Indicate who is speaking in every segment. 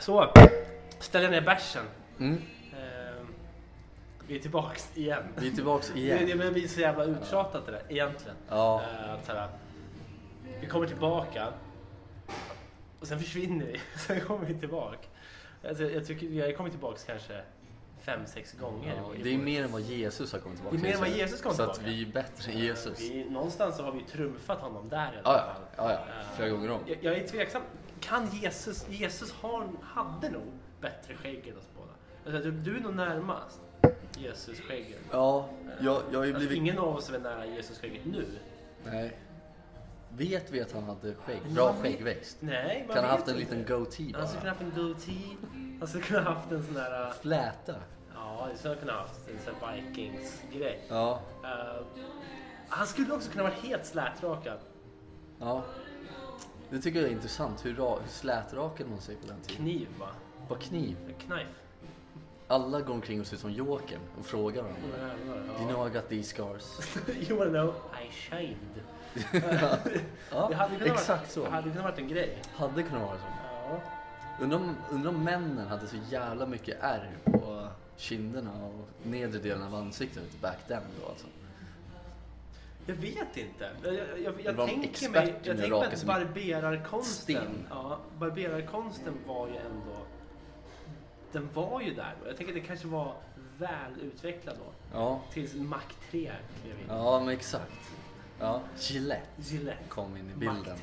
Speaker 1: Så, ställer ner bärsen.
Speaker 2: Mm.
Speaker 1: Eh, vi är tillbaks igen.
Speaker 2: Vi är tillbaks
Speaker 1: Det, det,
Speaker 2: igen.
Speaker 1: men det blir så jävla uttjatat det där egentligen.
Speaker 2: Ja.
Speaker 1: Eh, att så här, vi kommer tillbaka och sen försvinner vi. Sen kommer vi tillbaka. Alltså, jag tycker vi har kommit tillbaks kanske fem, sex gånger.
Speaker 2: Ja,
Speaker 1: i
Speaker 2: det är
Speaker 1: vår-
Speaker 2: mer än vad Jesus har kommit tillbaka
Speaker 1: Det är mer än vad
Speaker 2: till.
Speaker 1: Jesus kom
Speaker 2: Så att
Speaker 1: tillbaka.
Speaker 2: vi är bättre än Jesus. Ja,
Speaker 1: Vi, någonstans så har vi trumfat honom där i alla
Speaker 2: ja,
Speaker 1: fall. Eh,
Speaker 2: ja, ja. Flera gånger om.
Speaker 1: Jag, jag är tveksam. Kan Jesus... Jesus har, hade nog bättre skägg än oss båda. Alltså, du, du är nog närmast Jesus skägget.
Speaker 2: Ja, jag, jag har ju
Speaker 1: Alltså,
Speaker 2: blivit...
Speaker 1: ingen av oss är väl nära Jesus skägget nu?
Speaker 2: Nej. Vet vi att han hade skägg?
Speaker 1: Men
Speaker 2: Bra
Speaker 1: man vet-
Speaker 2: skäggväxt.
Speaker 1: Nej, man
Speaker 2: Kan ha
Speaker 1: vet
Speaker 2: haft en
Speaker 1: inte.
Speaker 2: liten goatee
Speaker 1: Han skulle kunna
Speaker 2: bara.
Speaker 1: haft en goatee. Han skulle kunna haft en sån där... äh,
Speaker 2: Fläta.
Speaker 1: Ja, det skulle han kunna haft. En sån här Vikings-grej.
Speaker 2: Ja,
Speaker 1: Eh, han skulle också kunna vara helt slätrakad.
Speaker 2: ja. Det tycker jag är intressant hur, ra- hur slätrakad man sig på den tiden.
Speaker 1: Kniv, va?
Speaker 2: Bara kniv.
Speaker 1: Knife.
Speaker 2: Alla går omkring och ser ut som Jokern och frågar varandra.
Speaker 1: Mm.
Speaker 2: Do you
Speaker 1: Ja.
Speaker 2: know I got these scars?
Speaker 1: You wanna know? I shined.
Speaker 2: Ja,
Speaker 1: Det hade kunnat
Speaker 2: exakt
Speaker 1: varit,
Speaker 2: så.
Speaker 1: Det hade kunnat varit en grej.
Speaker 2: Hade kunnat vara så.
Speaker 1: Ja.
Speaker 2: Undrar om, undrar om männen hade så jävla mycket ärr på kinderna och nedre delen av ansiktet back then då alltså.
Speaker 1: Jag vet inte. Jag, jag, jag,
Speaker 2: Det var
Speaker 1: jag
Speaker 2: en
Speaker 1: tänker
Speaker 2: expert
Speaker 1: mig,
Speaker 2: i
Speaker 1: jag tänker mig
Speaker 2: raka
Speaker 1: att
Speaker 2: som en
Speaker 1: barberarkonsten,
Speaker 2: sten.
Speaker 1: ja, barberarkonsten var ju ändå... Den var ju där då. Jag tänker att det kanske var väl utvecklad då.
Speaker 2: Ja,
Speaker 1: Tills Mac 3 klev in.
Speaker 2: ja men exakt. Ja, Gillette
Speaker 1: Gillette.
Speaker 2: kom in i
Speaker 1: Mac 3.
Speaker 2: bilden.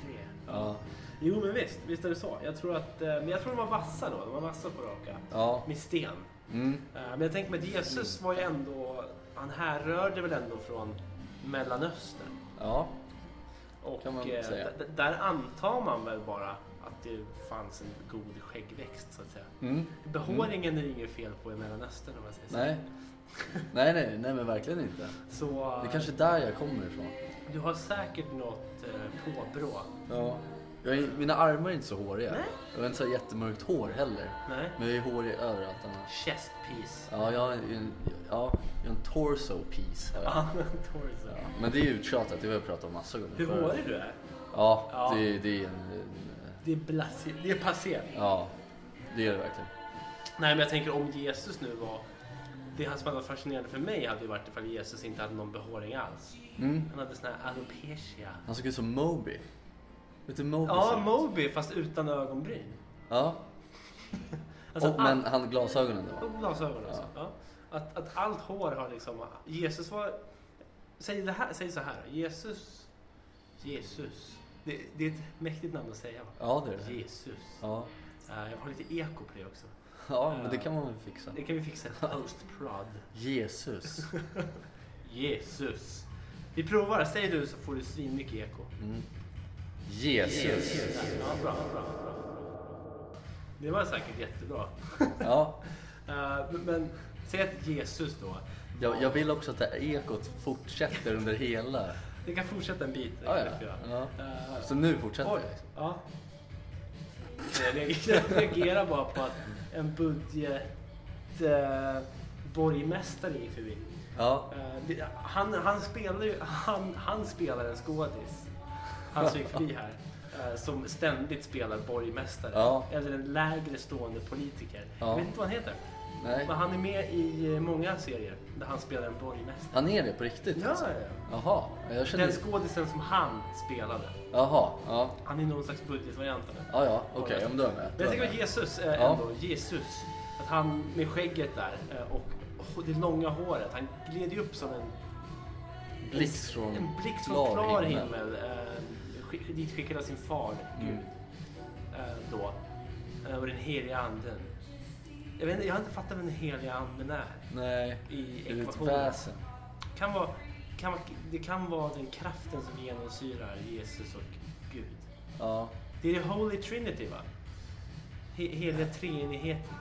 Speaker 1: Ja.
Speaker 2: Ja,
Speaker 1: Jo men visst, visst är det så. Jag tror att, eh, men jag tror de var vassa då. De var vassa på raka.
Speaker 2: ja,
Speaker 1: Med sten.
Speaker 2: mm,
Speaker 1: Eh, Men jag tänker mig att Jesus var ju ändå, han härrörde väl ändå från Mellanöstern.
Speaker 2: ja,
Speaker 1: Och
Speaker 2: Kan man
Speaker 1: eh,
Speaker 2: säga.
Speaker 1: d- d- där antar man väl bara att det fanns en god skäggväxt så att säga.
Speaker 2: mm.
Speaker 1: Behåringen är det inget fel på i Mellanöstern om man säger så.
Speaker 2: Nej. nej, nej, nej men verkligen inte.
Speaker 1: Så
Speaker 2: Det
Speaker 1: eh,
Speaker 2: är kanske är där jag kommer ifrån.
Speaker 1: du har säkert något eh, påbrå.
Speaker 2: Ja. Jag är, mina armar är inte så håriga.
Speaker 1: Nej.
Speaker 2: Jag har inte så här jättemörkt hår heller.
Speaker 1: Nej?
Speaker 2: Men jag är hårig överallt annars.
Speaker 1: Chest piece.
Speaker 2: Ja, jag har en, ja, jag har en torso piece. har jag.
Speaker 1: Ja, torso.
Speaker 2: Ja, men det är ju uttjatat, det har jag pratat om massor gånger
Speaker 1: Hur
Speaker 2: förut.
Speaker 1: hårig du är.
Speaker 2: Ja,
Speaker 1: Ja.
Speaker 2: Det, det är en, en...
Speaker 1: Det är, blasé, det är passé.
Speaker 2: Ja, det är det verkligen.
Speaker 1: Nej men jag tänker om Jesus nu var... Det som hade varit fascinerande för mig hade ju varit ifall Jesus inte hade någon behåring alls.
Speaker 2: Mm.
Speaker 1: Han hade sån här alopecia.
Speaker 2: Han såg ut som Moby. Vet du hur Moby ser
Speaker 1: Ja,
Speaker 2: ut?
Speaker 1: Moby fast utan ögonbryn.
Speaker 2: Ja,
Speaker 1: Alltså,
Speaker 2: och, men han glasögonen då.
Speaker 1: Och glasögon också. Ja. Att, att allt hår har liksom... Jesus var... Säg, det här, säg så här. Jesus. Jesus. Det, det är ett mäktigt namn att säga. Va?
Speaker 2: Ja, det är det.
Speaker 1: Jesus.
Speaker 2: Ja.
Speaker 1: Eh, jag har lite eko på det också.
Speaker 2: ja, men det kan man väl fixa.
Speaker 1: Det kan vi fixa. Post prod.
Speaker 2: Jesus.
Speaker 1: Jesus. Vi provar. Säg du så får du svinmycket eko.
Speaker 2: Mm. Jesus.
Speaker 1: Ja, bra, bra, bra. Det var säkert jättebra.
Speaker 2: Ja,
Speaker 1: Eh, men, men säg att Jesus då.
Speaker 2: jag, jag vill också att det här ekot fortsätter under hela...
Speaker 1: Det kan fortsätta en bit. Det
Speaker 2: Ja,
Speaker 1: kan
Speaker 2: ja.
Speaker 1: vi få göra.
Speaker 2: Ja.
Speaker 1: Eh,
Speaker 2: Så nu fortsätter
Speaker 1: Oj,
Speaker 2: det. liksom.
Speaker 1: ja. Jag reagerar- Jag reagerar bara på att en budget eh, borgmästare gick förbi.
Speaker 2: Ja,
Speaker 1: Eh, det- han, han, spelar ju, han, han spelar en skådis. Han som gick förbi här. eh, Som ständigt spelar borgmästare.
Speaker 2: Ja.
Speaker 1: Eller en lägre stående politiker.
Speaker 2: Ja.
Speaker 1: Jag vet inte vad han heter.
Speaker 2: nej.
Speaker 1: Men han är med i eh, många serier där han spelar en borgmästare.
Speaker 2: Han är det på riktigt
Speaker 1: Ja,
Speaker 2: alltså?
Speaker 1: ja, ja.
Speaker 2: Jaha, jag känner...
Speaker 1: Den skådisen som han spelade.
Speaker 2: Jaha, ja.
Speaker 1: Han är någon slags budgetvariant av det.
Speaker 2: Ja, ja, okej, ja, men då är jag med. Då
Speaker 1: Men
Speaker 2: är
Speaker 1: jag tänker
Speaker 2: jag
Speaker 1: att
Speaker 2: med.
Speaker 1: Jesus eh,
Speaker 2: Ja.
Speaker 1: ändå, Jesus, att han med skägget där eh, och och det långa håret, han gled ju upp som en,
Speaker 2: Blixt från
Speaker 1: en blixt från
Speaker 2: klar
Speaker 1: klar
Speaker 2: himmel. Mm.
Speaker 1: himmel. eh, skick- Dit skickade sin far, Gud, eh, då. Eh, Och den heliga anden. Jag, vet, inte, jag har inte fattat vem den heliga anden är.
Speaker 2: Nej,
Speaker 1: I
Speaker 2: ur ett
Speaker 1: ekvationen.
Speaker 2: väsen.
Speaker 1: Kan vara, kan vara, det kan vara den kraften som genomsyrar Jesus och Gud.
Speaker 2: Ja,
Speaker 1: Det är the Holy Trinity va? He, heliga treenigheten.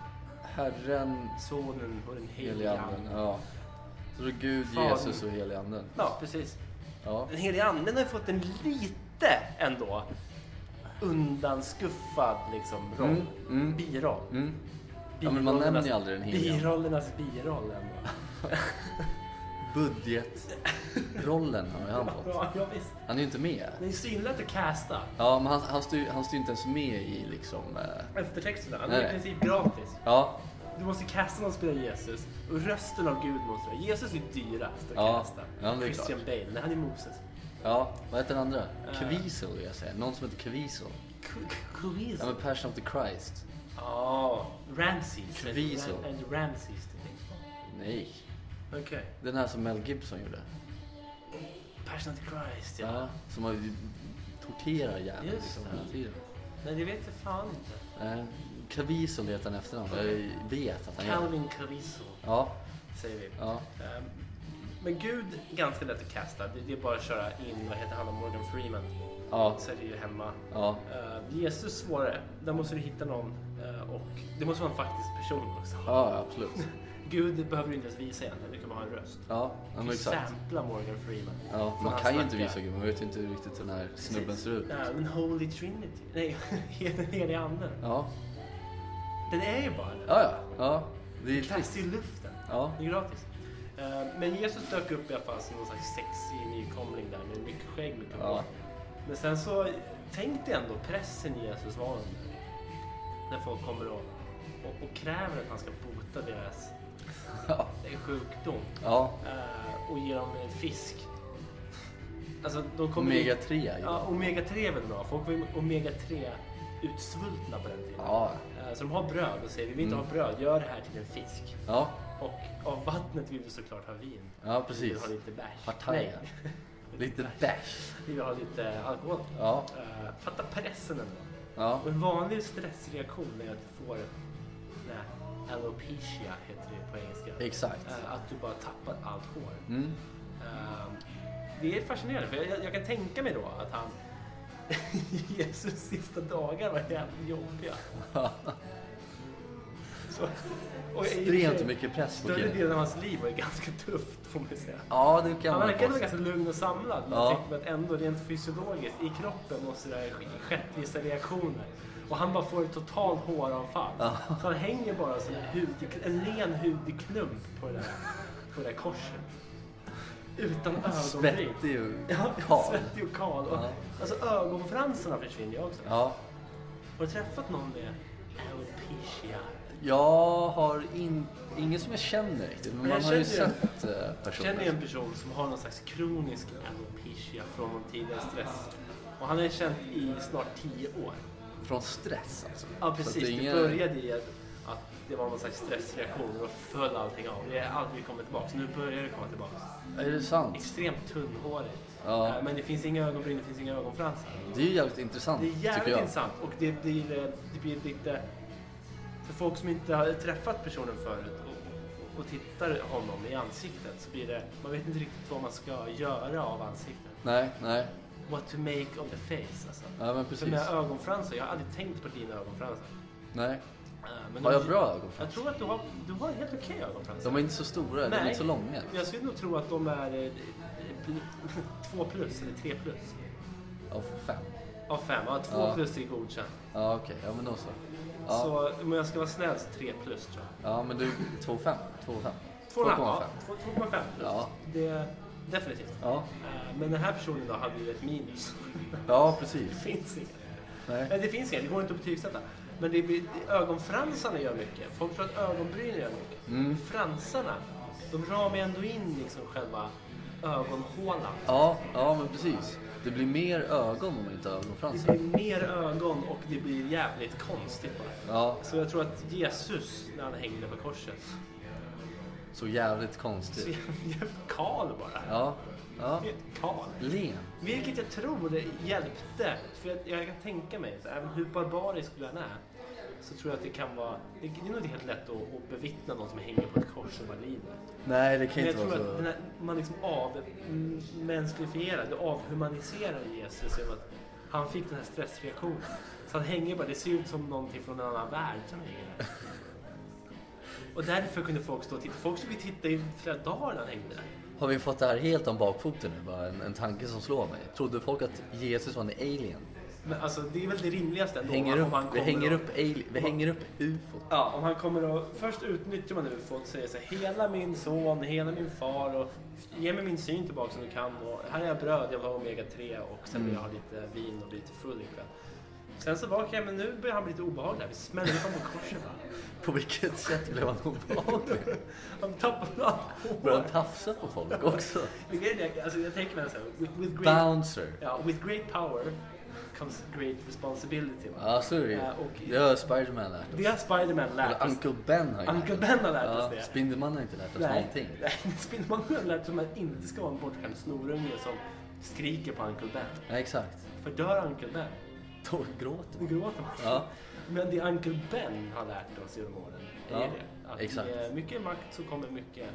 Speaker 2: Herren,
Speaker 1: Sonen och den helige
Speaker 2: helige anden.
Speaker 1: anden.
Speaker 2: Ja. Så då Gud,
Speaker 1: Fadern.
Speaker 2: Jesus och helige anden.
Speaker 1: Ja, precis.
Speaker 2: Ja.
Speaker 1: Den helige anden har ju fått en lite ändå undanskuffad liksom roll.
Speaker 2: Mm, mm.
Speaker 1: Biroll.
Speaker 2: Mm. Ja, men man nämner ju
Speaker 1: Birollernas-
Speaker 2: aldrig den helige Ande.
Speaker 1: Birollernas biroll ändå.
Speaker 2: Budgetrollen har ju han fått.
Speaker 1: Ja, ja, visst.
Speaker 2: Han är ju inte med.
Speaker 1: Det är svinlätt att casta
Speaker 2: Ja, men han, han, styr, han styr inte ens med i liksom... Eh,
Speaker 1: eftertexterna. Alltså, Det
Speaker 2: Nej,
Speaker 1: är i
Speaker 2: nej.
Speaker 1: princip gratis.
Speaker 2: ja,
Speaker 1: Du måste casta någon som spelar Jesus. Och rösten av Gud måste du ha. Jesus är dyrast att
Speaker 2: Ja,
Speaker 1: casta.
Speaker 2: ja, det är
Speaker 1: Christian
Speaker 2: klart.
Speaker 1: Bale, nej, han är Moses.
Speaker 2: ja, vad heter den andra? Kvisel vill jag säga. Någon som heter Kvisel. Ja,
Speaker 1: Kvisel.
Speaker 2: men Passion of the Christ.
Speaker 1: Ja, Ramses.
Speaker 2: Kvisel.
Speaker 1: Ram- and Ramses, det är
Speaker 2: Nej,
Speaker 1: det. Okej.
Speaker 2: den här som Mel Gibson gjorde.
Speaker 1: Passion of the Christ, ja.
Speaker 2: Ja, som har torterar jäveln
Speaker 1: Just
Speaker 2: liksom
Speaker 1: det.
Speaker 2: hela tiden.
Speaker 1: Nej, det vet jag fan inte.
Speaker 2: Eh, Kvisel heter han efternamn. Jag vet att han gör det.
Speaker 1: Calvin Caviso,
Speaker 2: Ja,
Speaker 1: säger vi.
Speaker 2: ja.
Speaker 1: Ehm, Men Gud, ganska lätt att casta. Det det är bara att köra in, vad heter han, Morgan Freeman.
Speaker 2: Ja,
Speaker 1: Så är det ju hemma.
Speaker 2: ja,
Speaker 1: Eh, Jesus svårare. Där måste du hitta någon eh, och det måste vara en faktisk person också.
Speaker 2: ja absolut.
Speaker 1: Gud behöver du inte ens visa egentligen, du kan bara ha en röst.
Speaker 2: Ja, ja men
Speaker 1: du
Speaker 2: exakt.
Speaker 1: sampla Morgan Freeman.
Speaker 2: Ja,
Speaker 1: Får
Speaker 2: man
Speaker 1: han
Speaker 2: kan ju inte
Speaker 1: snacka?
Speaker 2: visa Gud, man vet ju inte riktigt hur den här snubben ser ut.
Speaker 1: Ja, men Ehm, Holy Trinity. Nej, den helige anden.
Speaker 2: Ja,
Speaker 1: Den är ju bara det.
Speaker 2: ja, ja. ja. Det är trist.
Speaker 1: Kasta i luften.
Speaker 2: Ja,
Speaker 1: Det är gratis. Eh, Men Jesus dök upp i alla fall som någon slags sexig nykomling där med mycket skägg, mycket
Speaker 2: Ja.
Speaker 1: hår. Men sen så, tänk dig ändå pressen Jesus var under. När folk kommer och, och, och kräver att han ska bota deras eh,
Speaker 2: ja,
Speaker 1: sjukdom.
Speaker 2: ja.
Speaker 1: eh, Och ge dem eh, fisk. Alltså, de kommer
Speaker 2: Omega 3 ju.
Speaker 1: Ja, omega 3 är väl bra. Folk var ju omega 3 utsvultna på den tiden.
Speaker 2: Ja,
Speaker 1: Eh, Så de har bröd och säger vi vill inte
Speaker 2: Mm.
Speaker 1: ha bröd, gör det här till en fisk.
Speaker 2: ja,
Speaker 1: Och av vattnet vill vi såklart ha vin.
Speaker 2: ja
Speaker 1: Vi vill
Speaker 2: precis.
Speaker 1: ha lite bärs.
Speaker 2: Partaja.
Speaker 1: Nej,
Speaker 2: Lite bash.
Speaker 1: vi vill ha lite alkohol.
Speaker 2: Ja,
Speaker 1: Eh, fatta pressen ändå.
Speaker 2: ja,
Speaker 1: Och en vanlig stressreaktion är att du får sån här alopecia, heter det på engelska.
Speaker 2: exakt.
Speaker 1: Eh, att du bara tappar allt hår.
Speaker 2: Mm.
Speaker 1: Ehm, Det är fascinerande, för jag, jag kan tänka mig då att han... Jesus sista dagar var jävligt jobbiga. Så, och i och för sig,
Speaker 2: Extremt mycket press på
Speaker 1: Större
Speaker 2: killen.
Speaker 1: delen av hans liv var ju ganska tufft, får man ju säga.
Speaker 2: Ja, det kan
Speaker 1: Han
Speaker 2: man
Speaker 1: verkade vara
Speaker 2: påstå.
Speaker 1: ganska lugn och samlad, men
Speaker 2: Ja.
Speaker 1: jag tänkte mig att ändå rent fysiologiskt i kroppen måste det ha skett vissa reaktioner. Och han bara får ett totalt håravfall.
Speaker 2: Ja.
Speaker 1: Så han hänger bara som en, hud, en len hudig klump på det där, på det där korset. Utan ögonbryn.
Speaker 2: Svettig och
Speaker 1: Ja,
Speaker 2: kal.
Speaker 1: svettig och kal. Och,
Speaker 2: Ja.
Speaker 1: Alltså ögonfransarna försvinner ju också.
Speaker 2: Ja,
Speaker 1: Har du träffat någon med alopecia?
Speaker 2: jag har in, ingen som jag känner riktigt, men
Speaker 1: Men jag
Speaker 2: man har ju
Speaker 1: känner ju-
Speaker 2: sett eh, personer.
Speaker 1: känner ju en person som har någon slags kronisk alopecia från någon tidigare stress. Och han har ju känt i snart tio år.
Speaker 2: Från stress alltså.
Speaker 1: Ja
Speaker 2: Så att
Speaker 1: precis,
Speaker 2: det är
Speaker 1: det
Speaker 2: ingen-
Speaker 1: började i att, att det var någon slags stressreaktion och då föll allting av. Det har aldrig kommit tillbaka, så nu börjar det komma tillbaka.
Speaker 2: Är det sant?
Speaker 1: Extremt tunnhårigt.
Speaker 2: Ja.
Speaker 1: Eh, Men det finns inga ögonbryn, det finns inga ögonfransar.
Speaker 2: Det är ju jävligt intressant
Speaker 1: Det är
Speaker 2: tycker
Speaker 1: jävligt
Speaker 2: jag.
Speaker 1: intressant och det blir, det blir lite... För folk som inte har träffat personen förut och, och tittar honom i ansiktet så blir det... Man vet inte riktigt vad man ska göra av ansiktet.
Speaker 2: Nej, nej.
Speaker 1: What to make of the face alltså.
Speaker 2: Ja, men
Speaker 1: För
Speaker 2: precis.
Speaker 1: mina ögonfransar, jag har aldrig tänkt på dina ögonfransar.
Speaker 2: Nej.
Speaker 1: Eh, Men
Speaker 2: Har
Speaker 1: de-
Speaker 2: jag bra ögonfransar?
Speaker 1: Jag tror att du har, du har helt okej ögonfransar.
Speaker 2: De är inte så stora, de är
Speaker 1: Nej.
Speaker 2: inte så långa.
Speaker 1: Jag skulle nog tro att de är eh, två plus eller tre plus.
Speaker 2: Ja, fem.
Speaker 1: Av fem. Ja, två
Speaker 2: Ja.
Speaker 1: plus är godkänt.
Speaker 2: Ja, okej. Ja, men då så. Ja.
Speaker 1: Så om jag ska vara snäll så tre plus tror jag.
Speaker 2: ja, men du, 2,5.
Speaker 1: 2,5.
Speaker 2: 2,5. 2,5.
Speaker 1: Ja, 2,5 plus.
Speaker 2: Ja.
Speaker 1: Det, definitivt.
Speaker 2: Ja.
Speaker 1: Eh, Men den här personen då hade ju ett minus.
Speaker 2: ja,
Speaker 1: Det
Speaker 2: precis.
Speaker 1: finns inget.
Speaker 2: Nej.
Speaker 1: Nej, det finns inget. Det går inte att betygsätta. Men det, blir- det- ögonfransarna gör mycket. Folk tror att ögonbrynen gör mycket.
Speaker 2: Mm.
Speaker 1: Fransarna, de ramar ju ändå in liksom själva ögonhålan.
Speaker 2: Ja, ja, men precis. Det blir mer ögon om man inte har
Speaker 1: Det
Speaker 2: ögonfransar.
Speaker 1: blir mer ögon och det blir jävligt konstigt bara.
Speaker 2: Ja,
Speaker 1: Så jag tror att Jesus, när han hängde på korset,
Speaker 2: så jävligt
Speaker 1: så
Speaker 2: konstigt.
Speaker 1: jävligt kal bara.
Speaker 2: Ja, ja.
Speaker 1: Helt kal.
Speaker 2: Len.
Speaker 1: Vilket jag tror hjälpte. För jag, jag kan tänka mig, så även hur barbarisk du än är, så tror jag att det kan vara... Det, det är nog inte helt lätt att, att bevittna någon som hänger på ett kors och bara lider.
Speaker 2: Nej, det kan
Speaker 1: Men
Speaker 2: ju
Speaker 1: jag
Speaker 2: inte
Speaker 1: tror
Speaker 2: vara
Speaker 1: att den
Speaker 2: så.
Speaker 1: här, man liksom avmänskligierar, du avhumaniserar Jesus genom att han fick den här stressreaktionen. Så han hänger bara, det ser ut som någonting från en annan värld som hänger där. Och därför kunde folk stå och titta. Folk stod och tittade i flera dagar när han hängde där.
Speaker 2: Har vi fått det här helt om bakfoten nu? Bara en, en tanke som slår mig. Trodde folk att Jesus var en alien?
Speaker 1: Men alltså, det är väl det rimligaste ändå.
Speaker 2: Hänger
Speaker 1: om han
Speaker 2: upp, vi
Speaker 1: kommer
Speaker 2: hänger
Speaker 1: och-
Speaker 2: upp, ali- vi hänger upp UFO.
Speaker 1: Ja, om han kommer och... Först utnyttjar man UFO och säger så här, hela min son, hela min far och ge mig min syn tillbaka som du kan och här är jag bröd, jag vill ha omega 3 och sen vill jag ha lite vin och bli lite full ikväll. Sen så bara, okej men nu börjar han bli lite obehaglig här. vi smäller honom på korset. va?
Speaker 2: På vilket sätt blev han obehaglig?
Speaker 1: Han tappar allt
Speaker 2: Började
Speaker 1: hår.
Speaker 2: han tafsa på folk också?
Speaker 1: Men grejen är, Alltså, jag tänker mig så här, with, with, great,
Speaker 2: Bouncer.
Speaker 1: ja, with great power comes great responsibility. Va?
Speaker 2: Ja, så är det ju.
Speaker 1: Eh, och-
Speaker 2: Det har Spiderman lärt oss.
Speaker 1: Det har Spiderman lärt
Speaker 2: Eller
Speaker 1: oss.
Speaker 2: Uncle Ben har ju
Speaker 1: Uncle Ben har lärt oss
Speaker 2: Ja,
Speaker 1: det.
Speaker 2: Spindelmannen har inte lärt oss någonting.
Speaker 1: Nej, Spindelmannen har lärt sig att man inte ska vara en bortskämd snorunge som skriker på Uncle Ben.
Speaker 2: Nej, exakt.
Speaker 1: För dör Uncle Ben,
Speaker 2: Då gråter
Speaker 1: då
Speaker 2: man.
Speaker 1: gråter man.
Speaker 2: Ja,
Speaker 1: Men det Uncle Ben har lärt oss genom åren är
Speaker 2: Ja,
Speaker 1: det. Att
Speaker 2: exakt.
Speaker 1: med mycket makt så kommer mycket...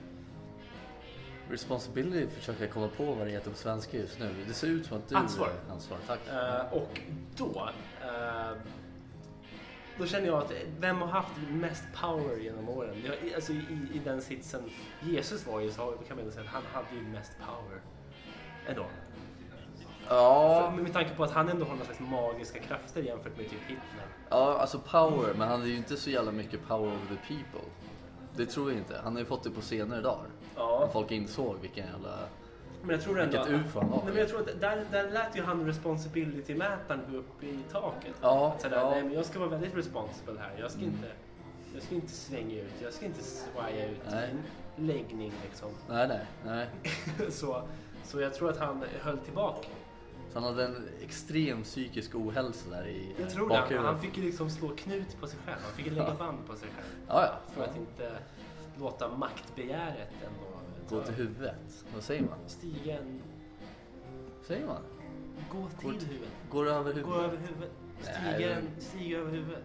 Speaker 2: responsibility försöker jag komma på vad det heter på svenska just nu. Det ser ut som att du...
Speaker 1: Ansvar.
Speaker 2: Ansvar, tack.
Speaker 1: Eh, och då... eh, då känner jag att vem har haft mest power genom åren? Jag, alltså i, i den sitsen Jesus var i så kan man ändå säga att han hade ju mest power. Ändå. För,
Speaker 2: Ja,
Speaker 1: med tanke på att han ändå har några slags magiska krafter jämfört med typ Hitler.
Speaker 2: ja, alltså power, men han är ju inte så jävla mycket power over the people. Det tror jag inte. Han har ju fått det på senare dagar.
Speaker 1: Ja.
Speaker 2: Folk insåg vilken jävla...
Speaker 1: Men jag tror ändå...
Speaker 2: Vilket ufo han var.
Speaker 1: Nej, men jag tror att där, där lät ju han responsibility-mätaren gå upp i taket.
Speaker 2: Ja,
Speaker 1: Att sådär,
Speaker 2: ja. Mm.
Speaker 1: nej men jag ska vara väldigt responsible här. Jag ska, inte, jag ska inte svänga ut, jag ska inte svaja ut
Speaker 2: Nej.
Speaker 1: min läggning liksom.
Speaker 2: Nej, nej, nej.
Speaker 1: så, så jag tror att han höll tillbaka.
Speaker 2: Så han hade en extrem psykisk ohälsa där i
Speaker 1: Jag tror det.
Speaker 2: bakhuvudet.
Speaker 1: Han, han fick ju liksom slå knut på sig själv. Han fick ju lägga
Speaker 2: Ja.
Speaker 1: band på sig själv.
Speaker 2: Ja, ja.
Speaker 1: För att inte låta maktbegäret ändå
Speaker 2: Gå
Speaker 1: ta-
Speaker 2: till huvudet. Vad säger man?
Speaker 1: stiga en...
Speaker 2: Säger man?
Speaker 1: Gå
Speaker 2: Gå
Speaker 1: till
Speaker 2: till-
Speaker 1: huvudet.
Speaker 2: Går över huvudet.
Speaker 1: Gå över huvudet.
Speaker 2: Nej,
Speaker 1: Stiga,
Speaker 2: det-
Speaker 1: en- stiga över huvudet.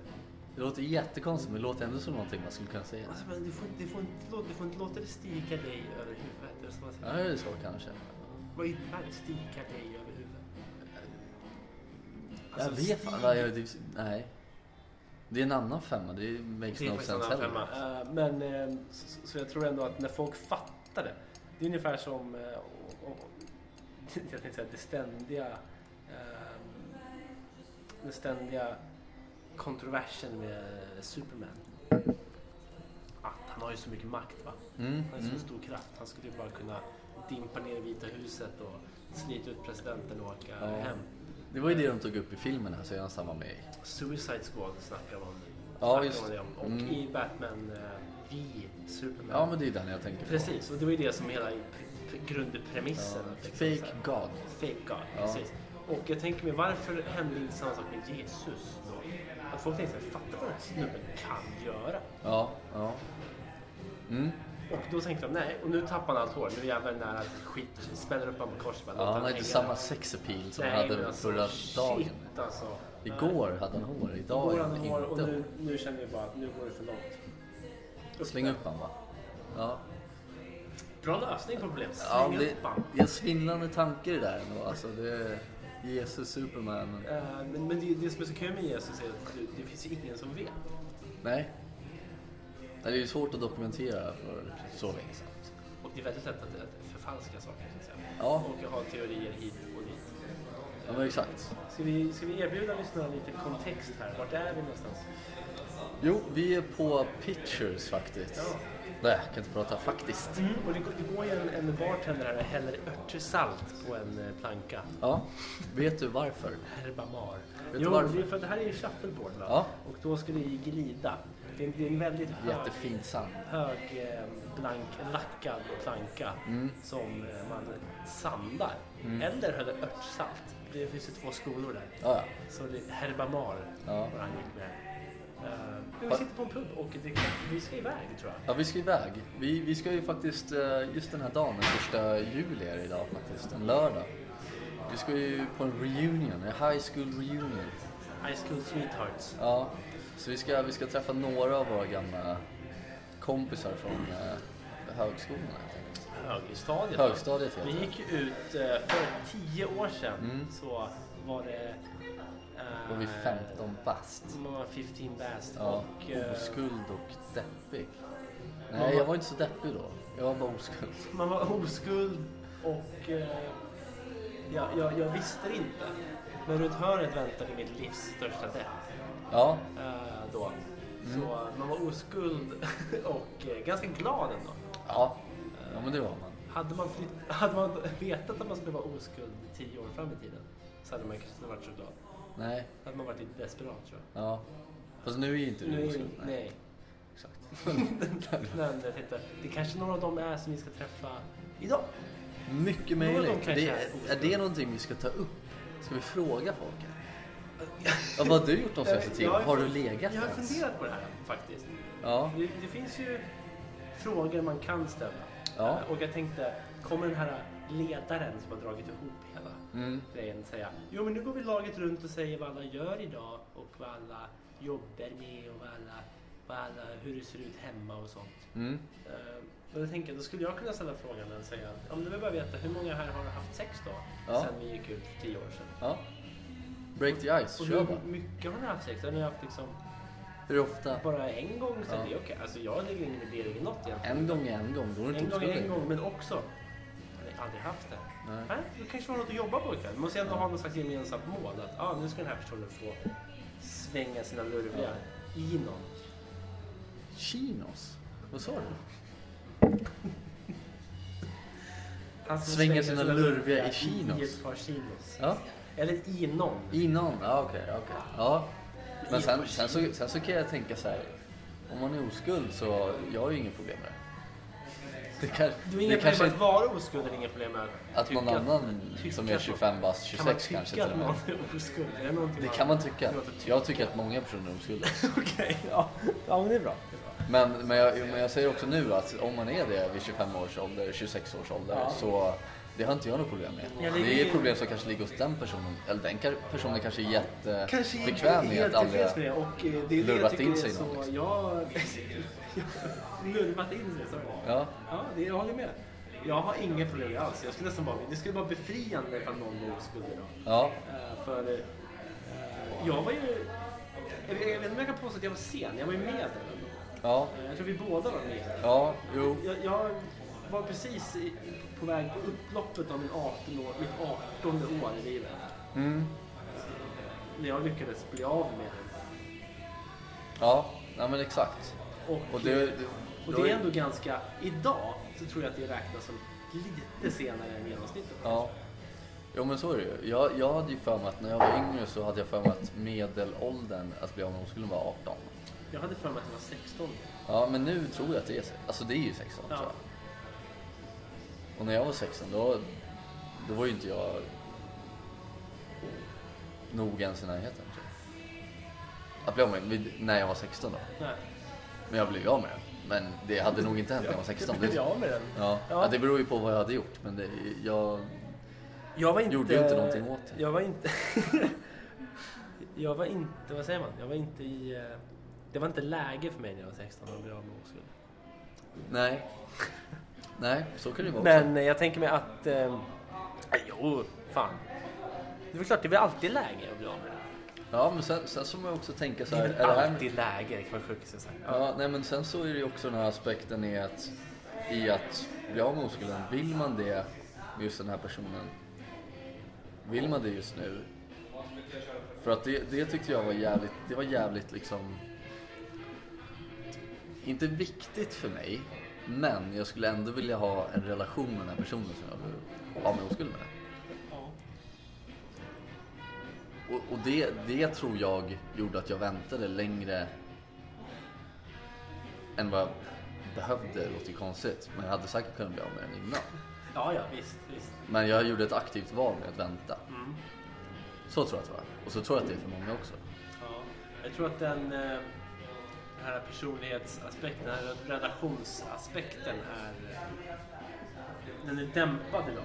Speaker 2: Det låter jättekonstigt men det låter ändå som någonting man skulle kunna säga.
Speaker 1: Alltså, men du, får, du, får inte, låta- du får inte låta det stiga dig över huvudet. Eller som man
Speaker 2: Ja,
Speaker 1: säger.
Speaker 2: det är så kanske.
Speaker 1: Vad innebär det? Stiga dig över huvudet?
Speaker 2: Jag
Speaker 1: Alltså,
Speaker 2: vet
Speaker 1: stig-
Speaker 2: fan. Nej, jag- det- nej. Det är en annan femma. Det makes
Speaker 1: Det är
Speaker 2: no
Speaker 1: faktiskt en
Speaker 2: sense
Speaker 1: annan
Speaker 2: heller.
Speaker 1: femma. Eh, Men, eh, så, så jag tror ändå att när folk fattar det. Det är ungefär som, eh, och, och, jag tänkte säga det ständiga, eh, den ständiga kontroversen med Superman. Att han har ju så mycket makt va.
Speaker 2: Mm,
Speaker 1: Han har ju
Speaker 2: mm.
Speaker 1: så stor kraft. Han skulle ju bara kunna dimpa ner i Vita huset och slita ut presidenten och åka
Speaker 2: Ja.
Speaker 1: hem.
Speaker 2: Det var ju det de tog upp i filmen här senast han var med i.
Speaker 1: Suicide Squad snackar man
Speaker 2: Ja,
Speaker 1: snackar
Speaker 2: just
Speaker 1: man
Speaker 2: det.
Speaker 1: det. om. Och
Speaker 2: Mm.
Speaker 1: i Batman eh, vi Superman.
Speaker 2: Ja men det är den jag tänker på.
Speaker 1: Precis, och det var ju det som hela pr- pr- grundpremissen.
Speaker 2: Ja,
Speaker 1: att liksom så
Speaker 2: fake
Speaker 1: här-
Speaker 2: God.
Speaker 1: Fake God,
Speaker 2: Ja.
Speaker 1: precis. Och jag tänker mig, varför hände inte samma sak med Jesus då? Att folk tänkte såhär, fatta vad den här snubben kan göra.
Speaker 2: Ja, ja. Mm.
Speaker 1: Och då tänkte de, nej, och nu tappar han allt hår. Nu är jävlar nära att skit smäller upp honom på korset. bara, låt
Speaker 2: ja han har
Speaker 1: hänga
Speaker 2: inte
Speaker 1: där.
Speaker 2: samma sex appeal som
Speaker 1: Nej,
Speaker 2: han
Speaker 1: men
Speaker 2: hade
Speaker 1: alltså,
Speaker 2: förra
Speaker 1: shit,
Speaker 2: dagen.
Speaker 1: Alltså.
Speaker 2: Igår hade han hår, idag
Speaker 1: Igår hade
Speaker 2: är han
Speaker 1: han
Speaker 2: inte
Speaker 1: hår och
Speaker 2: hår.
Speaker 1: nu, nu känner vi bara att nu går det för långt.
Speaker 2: Släng upp han va? Ja.
Speaker 1: Bra lösning på problemet.
Speaker 2: Ja,
Speaker 1: Släng
Speaker 2: men
Speaker 1: upp han.
Speaker 2: det är en svindlande tanke det där ändå. Alltså, det är Jesus Superman.
Speaker 1: Eh, Men, men det, det som är så kul med Jesus är att det, det finns ju ingen som vet.
Speaker 2: Nej. Nej, Det är ju svårt att dokumentera för så länge sedan.
Speaker 1: Och det är väldigt lätt att, att förfalska saker. Så att säga.
Speaker 2: Ja,
Speaker 1: Och jag har teorier hit och dit.
Speaker 2: ja men exakt.
Speaker 1: Ska vi, ska vi erbjuda lyssnarna lite kontext här? Vart är vi någonstans?
Speaker 2: Jo, vi är på Pictures faktiskt. Nej, jag kan inte prata faktiskt.
Speaker 1: Och det, går- det går ju en, en bartender här och häller örtsalt på en eh, planka.
Speaker 2: Ja, vet du varför?
Speaker 1: Herbamar.
Speaker 2: du
Speaker 1: Jo,
Speaker 2: varför?
Speaker 1: det är för att det här är ju shuffleboard va?
Speaker 2: Ja.
Speaker 1: Och då ska det ju glida. Det är, en- det är en väldigt hög,
Speaker 2: Jättefint sand.
Speaker 1: hög eh, blank, lackad planka
Speaker 2: Mm.
Speaker 1: som eh, man sandar. Eller häller örtsalt. Det finns ju två skolor där.
Speaker 2: Ja, ja.
Speaker 1: Så det är Herbamar
Speaker 2: Ja.
Speaker 1: var han gick med. Eh, men vi sitter på en pub och dricker. Vi ska iväg tror jag.
Speaker 2: ja vi ska iväg. Vi, vi ska ju faktiskt, eh, just den här dagen, den första juli är det idag faktiskt, en lördag. Vi ska ju på en reunion, en high school reunion.
Speaker 1: High School Sweethearts.
Speaker 2: Ja, så vi ska, vi ska träffa några av våra gamla kompisar från eh, högskolan. helt enkelt.
Speaker 1: Högstadiet.
Speaker 2: Högstadiet heter
Speaker 1: Vi
Speaker 2: det.
Speaker 1: gick ju ut eh, för tio år sedan så var det... eh,
Speaker 2: Mm. Då var vi 15 bast.
Speaker 1: Man var 15 bast
Speaker 2: Ja,
Speaker 1: och... eh,
Speaker 2: oskuld och deppig. Nej, jag var inte så deppig då. Jag var bara oskuld.
Speaker 1: man var oskuld och... eh, Jag, jag, jag visste det inte. Men runt hörnet väntade mitt livs största depp.
Speaker 2: Ja,
Speaker 1: eh, då. Så
Speaker 2: Mm.
Speaker 1: man var oskuld och eh, ganska glad ändå.
Speaker 2: ja. ja men det var man.
Speaker 1: Hade man, flytt, hade man vetat att man skulle vara oskuld tio år fram i tiden så hade man kanske inte varit så glad.
Speaker 2: Nej,
Speaker 1: Då hade man varit lite desperat tror jag.
Speaker 2: ja. Fast nu är ju inte du oskuld.
Speaker 1: Nej. nej.
Speaker 2: Exakt.
Speaker 1: Nej, men jag tänkte, det kanske några av dem är som vi ska träffa idag.
Speaker 2: Mycket
Speaker 1: Någon av dem
Speaker 2: möjligt.
Speaker 1: kanske
Speaker 2: Det,
Speaker 1: är
Speaker 2: är
Speaker 1: oskuld.
Speaker 2: det någonting vi ska ta upp? Ska vi fråga folk? Ja, vad har du gjort de senaste tiden?
Speaker 1: Eh, Jag
Speaker 2: Har du
Speaker 1: fun-
Speaker 2: legat
Speaker 1: Jag har
Speaker 2: ens?
Speaker 1: funderat på det här faktiskt.
Speaker 2: Ja,
Speaker 1: Det, det finns ju frågor man kan ställa.
Speaker 2: Ja.
Speaker 1: Eh, Och jag tänkte, kommer den här ledaren som har dragit ihop hela
Speaker 2: Mm.
Speaker 1: grejen säga Jo men nu går vi laget runt och säger vad alla gör idag och vad alla jobbar med och vad alla, vad alla, hur det ser ut hemma och sånt.
Speaker 2: mm.
Speaker 1: Eh, Och då tänker jag, då skulle jag kunna ställa frågan och säga om du vill bara veta hur många här har haft sex då?
Speaker 2: Ja.
Speaker 1: Sen vi gick ut för tio år sedan.
Speaker 2: ja. Break the ice,
Speaker 1: Och
Speaker 2: kör
Speaker 1: hur
Speaker 2: bara.
Speaker 1: mycket har ni haft sex? Har ni haft liksom
Speaker 2: Hur ofta?
Speaker 1: bara en gång så
Speaker 2: Ja.
Speaker 1: är det är okej. Alltså jag lägger ingen värdering i något egentligen.
Speaker 2: En gång är en gång, då är du
Speaker 1: En
Speaker 2: inte
Speaker 1: gång är
Speaker 2: oskuld
Speaker 1: en
Speaker 2: längre.
Speaker 1: gång, men också. Jag har aldrig haft det.
Speaker 2: Nej.
Speaker 1: Nej, det kanske var något att jobba på ikväll. Man måste ändå ha något slags gemensamt mål. Att ah, nu ska den här personen få svänga sina lurvliga i någon.
Speaker 2: Chinos? Vad sa du?
Speaker 1: Han som
Speaker 2: Svänga
Speaker 1: svänger
Speaker 2: sina lurviga i
Speaker 1: I
Speaker 2: chinos.
Speaker 1: ett par chinos.
Speaker 2: Ja,
Speaker 1: Eller i någon.
Speaker 2: inom. Ja, okej. okej. ja. Men sen, sen, så, sen så kan jag tänka så här. Om man är oskuld så jag har ju inget problem med det. Det, kan,
Speaker 1: Du har
Speaker 2: det
Speaker 1: inga problem
Speaker 2: kanske
Speaker 1: med att vara oskuld, eller inga problem med
Speaker 2: att någon
Speaker 1: tycka-
Speaker 2: annan
Speaker 1: tycka
Speaker 2: som är
Speaker 1: så.
Speaker 2: 25 bast,
Speaker 1: Kan man
Speaker 2: 26
Speaker 1: tycka
Speaker 2: kanske till och
Speaker 1: att
Speaker 2: med.
Speaker 1: någon är oskuld? Är det, någonting
Speaker 2: Det kan man tycka.
Speaker 1: det låter typ- tyckt.
Speaker 2: Jag tycker att många personer är oskulda.
Speaker 1: Okej, ja. ja men det är bra.
Speaker 2: Men, men, jag, men jag säger också nu att om man är det vid 25 års ålder, 26 års ålder
Speaker 1: Ja.
Speaker 2: så det har inte jag något problem med.
Speaker 1: Jag
Speaker 2: Det är
Speaker 1: ligger-
Speaker 2: ett problem som kanske ligger hos den personen. Eller den ka- personen kanske är
Speaker 1: Kanske inte
Speaker 2: jättebekväm med att
Speaker 1: helt
Speaker 2: aldrig...
Speaker 1: tillfreds med det och eh, det är det jag
Speaker 2: lurvat
Speaker 1: tycker
Speaker 2: in
Speaker 1: är
Speaker 2: sig i
Speaker 1: så...
Speaker 2: någon, liksom.
Speaker 1: Jag... jag lurvat in sig, sa jag.
Speaker 2: Ja,
Speaker 1: Ja, det, jag håller med. Jag har inga problem alls. Jag skulle nästan bara, det skulle vara befriande ifall någon blev oskuld idag.
Speaker 2: ja,
Speaker 1: Eh, för eh, jag var ju... Jag vet jag vet inte om jag kan påstå att jag var sen. Jag var ju med där. ändå.
Speaker 2: ja,
Speaker 1: Eh, Jag tror vi båda var med.
Speaker 2: ja, jo.
Speaker 1: Jag, jag var precis i, på väg på upploppet av min 18 år, mitt 18 år i livet.
Speaker 2: Mm,
Speaker 1: När jag lyckades bli av med det.
Speaker 2: ja, nej men exakt.
Speaker 1: Och,
Speaker 2: Och det, det,
Speaker 1: och det är ändå ganska... Idag så tror jag att det räknas som lite senare än genomsnittet.
Speaker 2: Ja. Jo men så är det ju. Jag, jag hade ju för mig att när jag var yngre så hade jag för mig att medelåldern att bli av med oskulden var 18.
Speaker 1: Jag hade för mig att det var 16.
Speaker 2: Ja, men nu tror jag att det är 16. Alltså det är ju 16
Speaker 1: Ja.
Speaker 2: tror jag. Och när jag var 16 då, då var ju inte jag nog ens i närheten tror jag. Att bli av med vid- när jag var 16 då.
Speaker 1: Nej.
Speaker 2: Men jag blev ju av med den. Men det hade nog inte hänt när jag var 16. Det, ja.
Speaker 1: av med den.
Speaker 2: Ja.
Speaker 1: Ja.
Speaker 2: det beror ju på vad jag hade gjort. Men det, jag...
Speaker 1: Jag var inte...
Speaker 2: Gjorde ju inte någonting åt det.
Speaker 1: Jag var inte... jag var inte... Vad säger man? Jag var inte i... eh, Det var inte läge för mig när jag var 16 att bli av med oskuld.
Speaker 2: Nej. Nej, så kan det ju vara också.
Speaker 1: Men eh, jag tänker mig att... Eh, jo, fan. Det är väl klart, det är väl alltid läge att bli av med det.
Speaker 2: Ja, men sen, sen så får man ju också tänka så
Speaker 1: Det är
Speaker 2: här. Är
Speaker 1: väl
Speaker 2: det här...
Speaker 1: alltid läge, det kan man sjukt säga. Ja.
Speaker 2: Ja, nej men sen så är det ju också den här aspekten i att, i att bli av med oskulden. Vill man det med just den här personen? Vill man det just nu? För att det, det tyckte jag var jävligt, det var jävligt liksom... Inte viktigt för mig, men jag skulle ändå vilja ha en relation med den här personen som jag blev av med oskulden med. Och, och det, det tror jag gjorde att jag väntade längre än vad jag behövde. Det låter ju konstigt, men jag hade säkert kunnat bli av med den innan.
Speaker 1: ja, ja, visst, visst.
Speaker 2: Men jag gjorde ett aktivt val med att vänta.
Speaker 1: Mm.
Speaker 2: Så tror jag att det var. Och så tror jag att det är för många också.
Speaker 1: Ja. Jag tror att den, eh, den här personlighetsaspekten, den här relationsaspekten är... eh, Den är dämpad idag.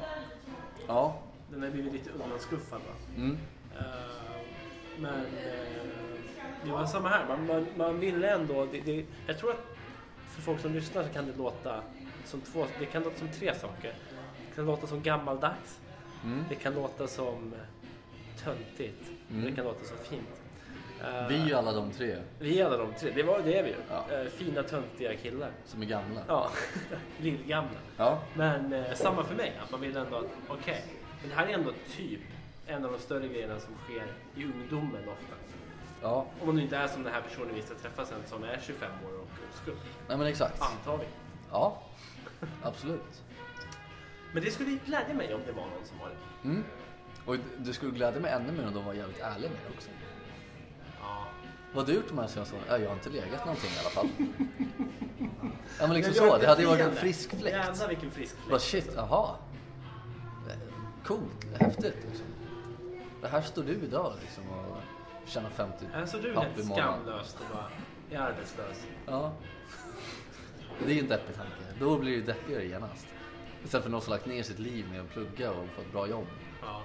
Speaker 2: Ja.
Speaker 1: Den har blivit lite undanskuffad. Va?
Speaker 2: Mm.
Speaker 1: Eh, men eh, det var samma här. Man, man, man ville ändå... Det, det, jag tror att för folk som lyssnar så kan det låta som två... Det kan låta som tre saker. Det kan låta som gammaldags.
Speaker 2: Mm.
Speaker 1: Det kan låta som töntigt.
Speaker 2: Mm.
Speaker 1: Det kan låta som fint. Eh,
Speaker 2: Vi är ju alla de tre
Speaker 1: vi är alla de tre. Det, var, det är vi ju.
Speaker 2: Ja.
Speaker 1: Eh, fina töntiga killar.
Speaker 2: som är gamla.
Speaker 1: Ja, lillgamla.
Speaker 2: Ja.
Speaker 1: Men eh, samma för mig. Att man vill ändå att, okej, Men det här är ändå typ en av de större grejerna som sker i ungdomen ofta.
Speaker 2: Ja,
Speaker 1: Om man nu inte är som den här personen vi ska träffa sen som är 25 år och oskuld.
Speaker 2: nej men exakt.
Speaker 1: Antar vi.
Speaker 2: Ja, absolut.
Speaker 1: Men det skulle ju glädja mig om det var någon som var det.
Speaker 2: Mm. Och det skulle glädja mig ännu mer om de var jävligt ärliga med det också.
Speaker 1: Ja.
Speaker 2: Vad har du gjort de här senaste åren? Ja, jag har inte legat någonting i alla fall. ja men liksom
Speaker 1: Jag gör
Speaker 2: så,
Speaker 1: ett
Speaker 2: det hade ju varit en
Speaker 1: leende.
Speaker 2: frisk fläkt.
Speaker 1: Jävlar vilken frisk fläkt.
Speaker 2: Bara shit, jaha. Eh, Coolt, häftigt liksom. Det här står du idag liksom och tjänar 50
Speaker 1: Alltså du är
Speaker 2: papp
Speaker 1: helt
Speaker 2: i månaden.
Speaker 1: skamlöst och bara är arbetslös.
Speaker 2: Ja. Det är ju en deppig tanke. Då blir det ju deppigare genast. Istället för någon som lagt ner sitt liv med att plugga och få ett bra jobb.
Speaker 1: Ja.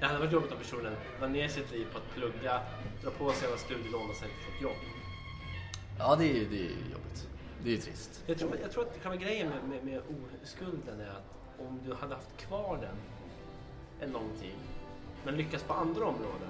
Speaker 1: Det hade varit jobbigt om personen la ner sitt liv på att plugga, dra på sig alla studielån och sen inte fått jobb.
Speaker 2: Ja, det är ju det är ju jobbigt. Det är ju trist.
Speaker 1: Jag tror, jag tror att själva grejen med, med, med oskulden är att om du hade haft kvar den en lång tid, men lyckas på andra områden,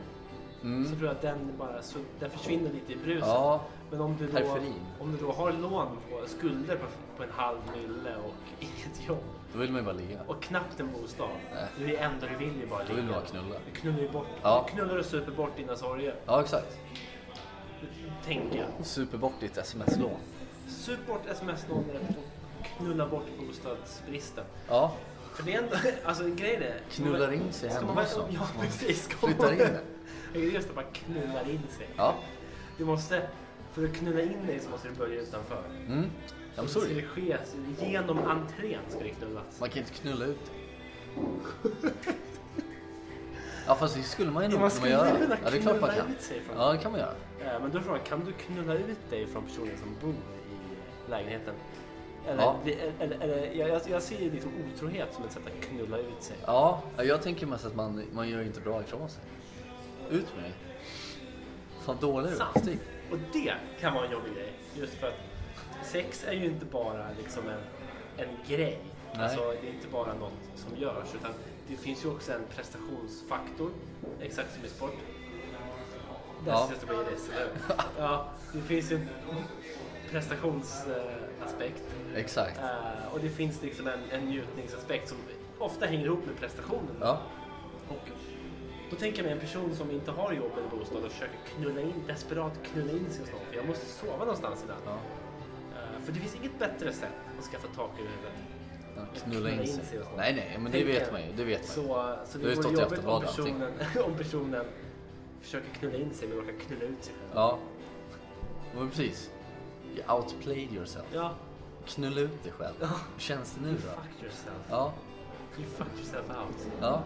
Speaker 2: Mm.
Speaker 1: så tror jag att den bara så, den försvinner lite i bruset.
Speaker 2: Ja,
Speaker 1: Men om du, då,
Speaker 2: Periferin.
Speaker 1: om du då har lån på skulder på, på en halv mille och inget jobb
Speaker 2: då vill man ju bara ligga.
Speaker 1: och knappt en bostad.
Speaker 2: Nej.
Speaker 1: Du är det enda du vill ju bara
Speaker 2: Då vill man
Speaker 1: ligga.
Speaker 2: bara knulla.
Speaker 1: Du knullar ju bort.
Speaker 2: Ja.
Speaker 1: Du knullar och super bort dina sorger.
Speaker 2: Ja, exakt.
Speaker 1: Tänker jag.
Speaker 2: Super bort ditt sms-lån.
Speaker 1: Sup bort sms-numret och knulla bort bostadsbristen.
Speaker 2: Ja,
Speaker 1: För det är ändå, alltså grejen är...
Speaker 2: Knullar in sig
Speaker 1: Ska
Speaker 2: hemma
Speaker 1: man-
Speaker 2: också.
Speaker 1: Ja
Speaker 2: Så man
Speaker 1: precis. Ska
Speaker 2: flyttar in det.
Speaker 1: Det är just att man knullar in sig.
Speaker 2: ja.
Speaker 1: Du måste, för att knulla in dig så måste du börja utanför.
Speaker 2: Mm. I'm
Speaker 1: Så ska
Speaker 2: sorry.
Speaker 1: det ske, genom entrén ska det knullas.
Speaker 2: Man kan inte knulla ut det. Ja, fast det skulle man ju nog
Speaker 1: man
Speaker 2: kunna
Speaker 1: skulle
Speaker 2: göra.
Speaker 1: kunna
Speaker 2: ja, det är klart man
Speaker 1: knulla
Speaker 2: kan.
Speaker 1: ut sig från-
Speaker 2: Ja, det kan man göra.
Speaker 1: Eh, Men då är frågan, kan du knulla ut dig från personen som bor i lägenheten? Eller,
Speaker 2: Ja.
Speaker 1: vi- eller, eller jag, jag- jag ser ju liksom otrohet som ett sätt att knulla ut sig.
Speaker 2: Ja, jag tänker mest att man, man gör inte bra ifrån sig. Ut med dig. Fan, dålig du
Speaker 1: Sant.
Speaker 2: Stig.
Speaker 1: Och det kan vara en jobbig grej. Just för att sex är ju inte bara liksom en, en grej.
Speaker 2: Nej.
Speaker 1: Alltså, det är inte bara något som görs. Utan det finns ju också en prestationsfaktor. Exakt som i sport. Där
Speaker 2: Ja.
Speaker 1: ja. jag bli ledsen nu. Ja, det finns ju en prestationsaspekt.
Speaker 2: Exakt.
Speaker 1: Eh, och det finns liksom en, en njutningsaspekt som ofta hänger ihop med prestationen.
Speaker 2: Ja.
Speaker 1: Och då tänker jag mig en person som inte har jobb eller bostad och försöker knulla in, desperat knulla in sig hos någon för jag måste sova någonstans idag.
Speaker 2: ja.
Speaker 1: Eh, för det finns inget bättre sätt att skaffa tak över huvudet.
Speaker 2: Ja, Knulla in sig.
Speaker 1: och så.
Speaker 2: Nej, nej, men det
Speaker 1: Tänker
Speaker 2: vet
Speaker 1: jag.
Speaker 2: man ju. Det vet man ju.
Speaker 1: Så, så
Speaker 2: Det
Speaker 1: det
Speaker 2: har ju stått i
Speaker 1: vore jobbigt om
Speaker 2: Aftonbladet allting.
Speaker 1: personen, om personen försöker knulla in sig men råkar knulla ut sig själv.
Speaker 2: Ja. Men precis. You outplayed yourself.
Speaker 1: Ja,
Speaker 2: Knulla ut dig själv.
Speaker 1: Ja.
Speaker 2: Hur känns det nu då?
Speaker 1: fuck yourself.
Speaker 2: Ja.
Speaker 1: You fuck yourself out.
Speaker 2: Ja.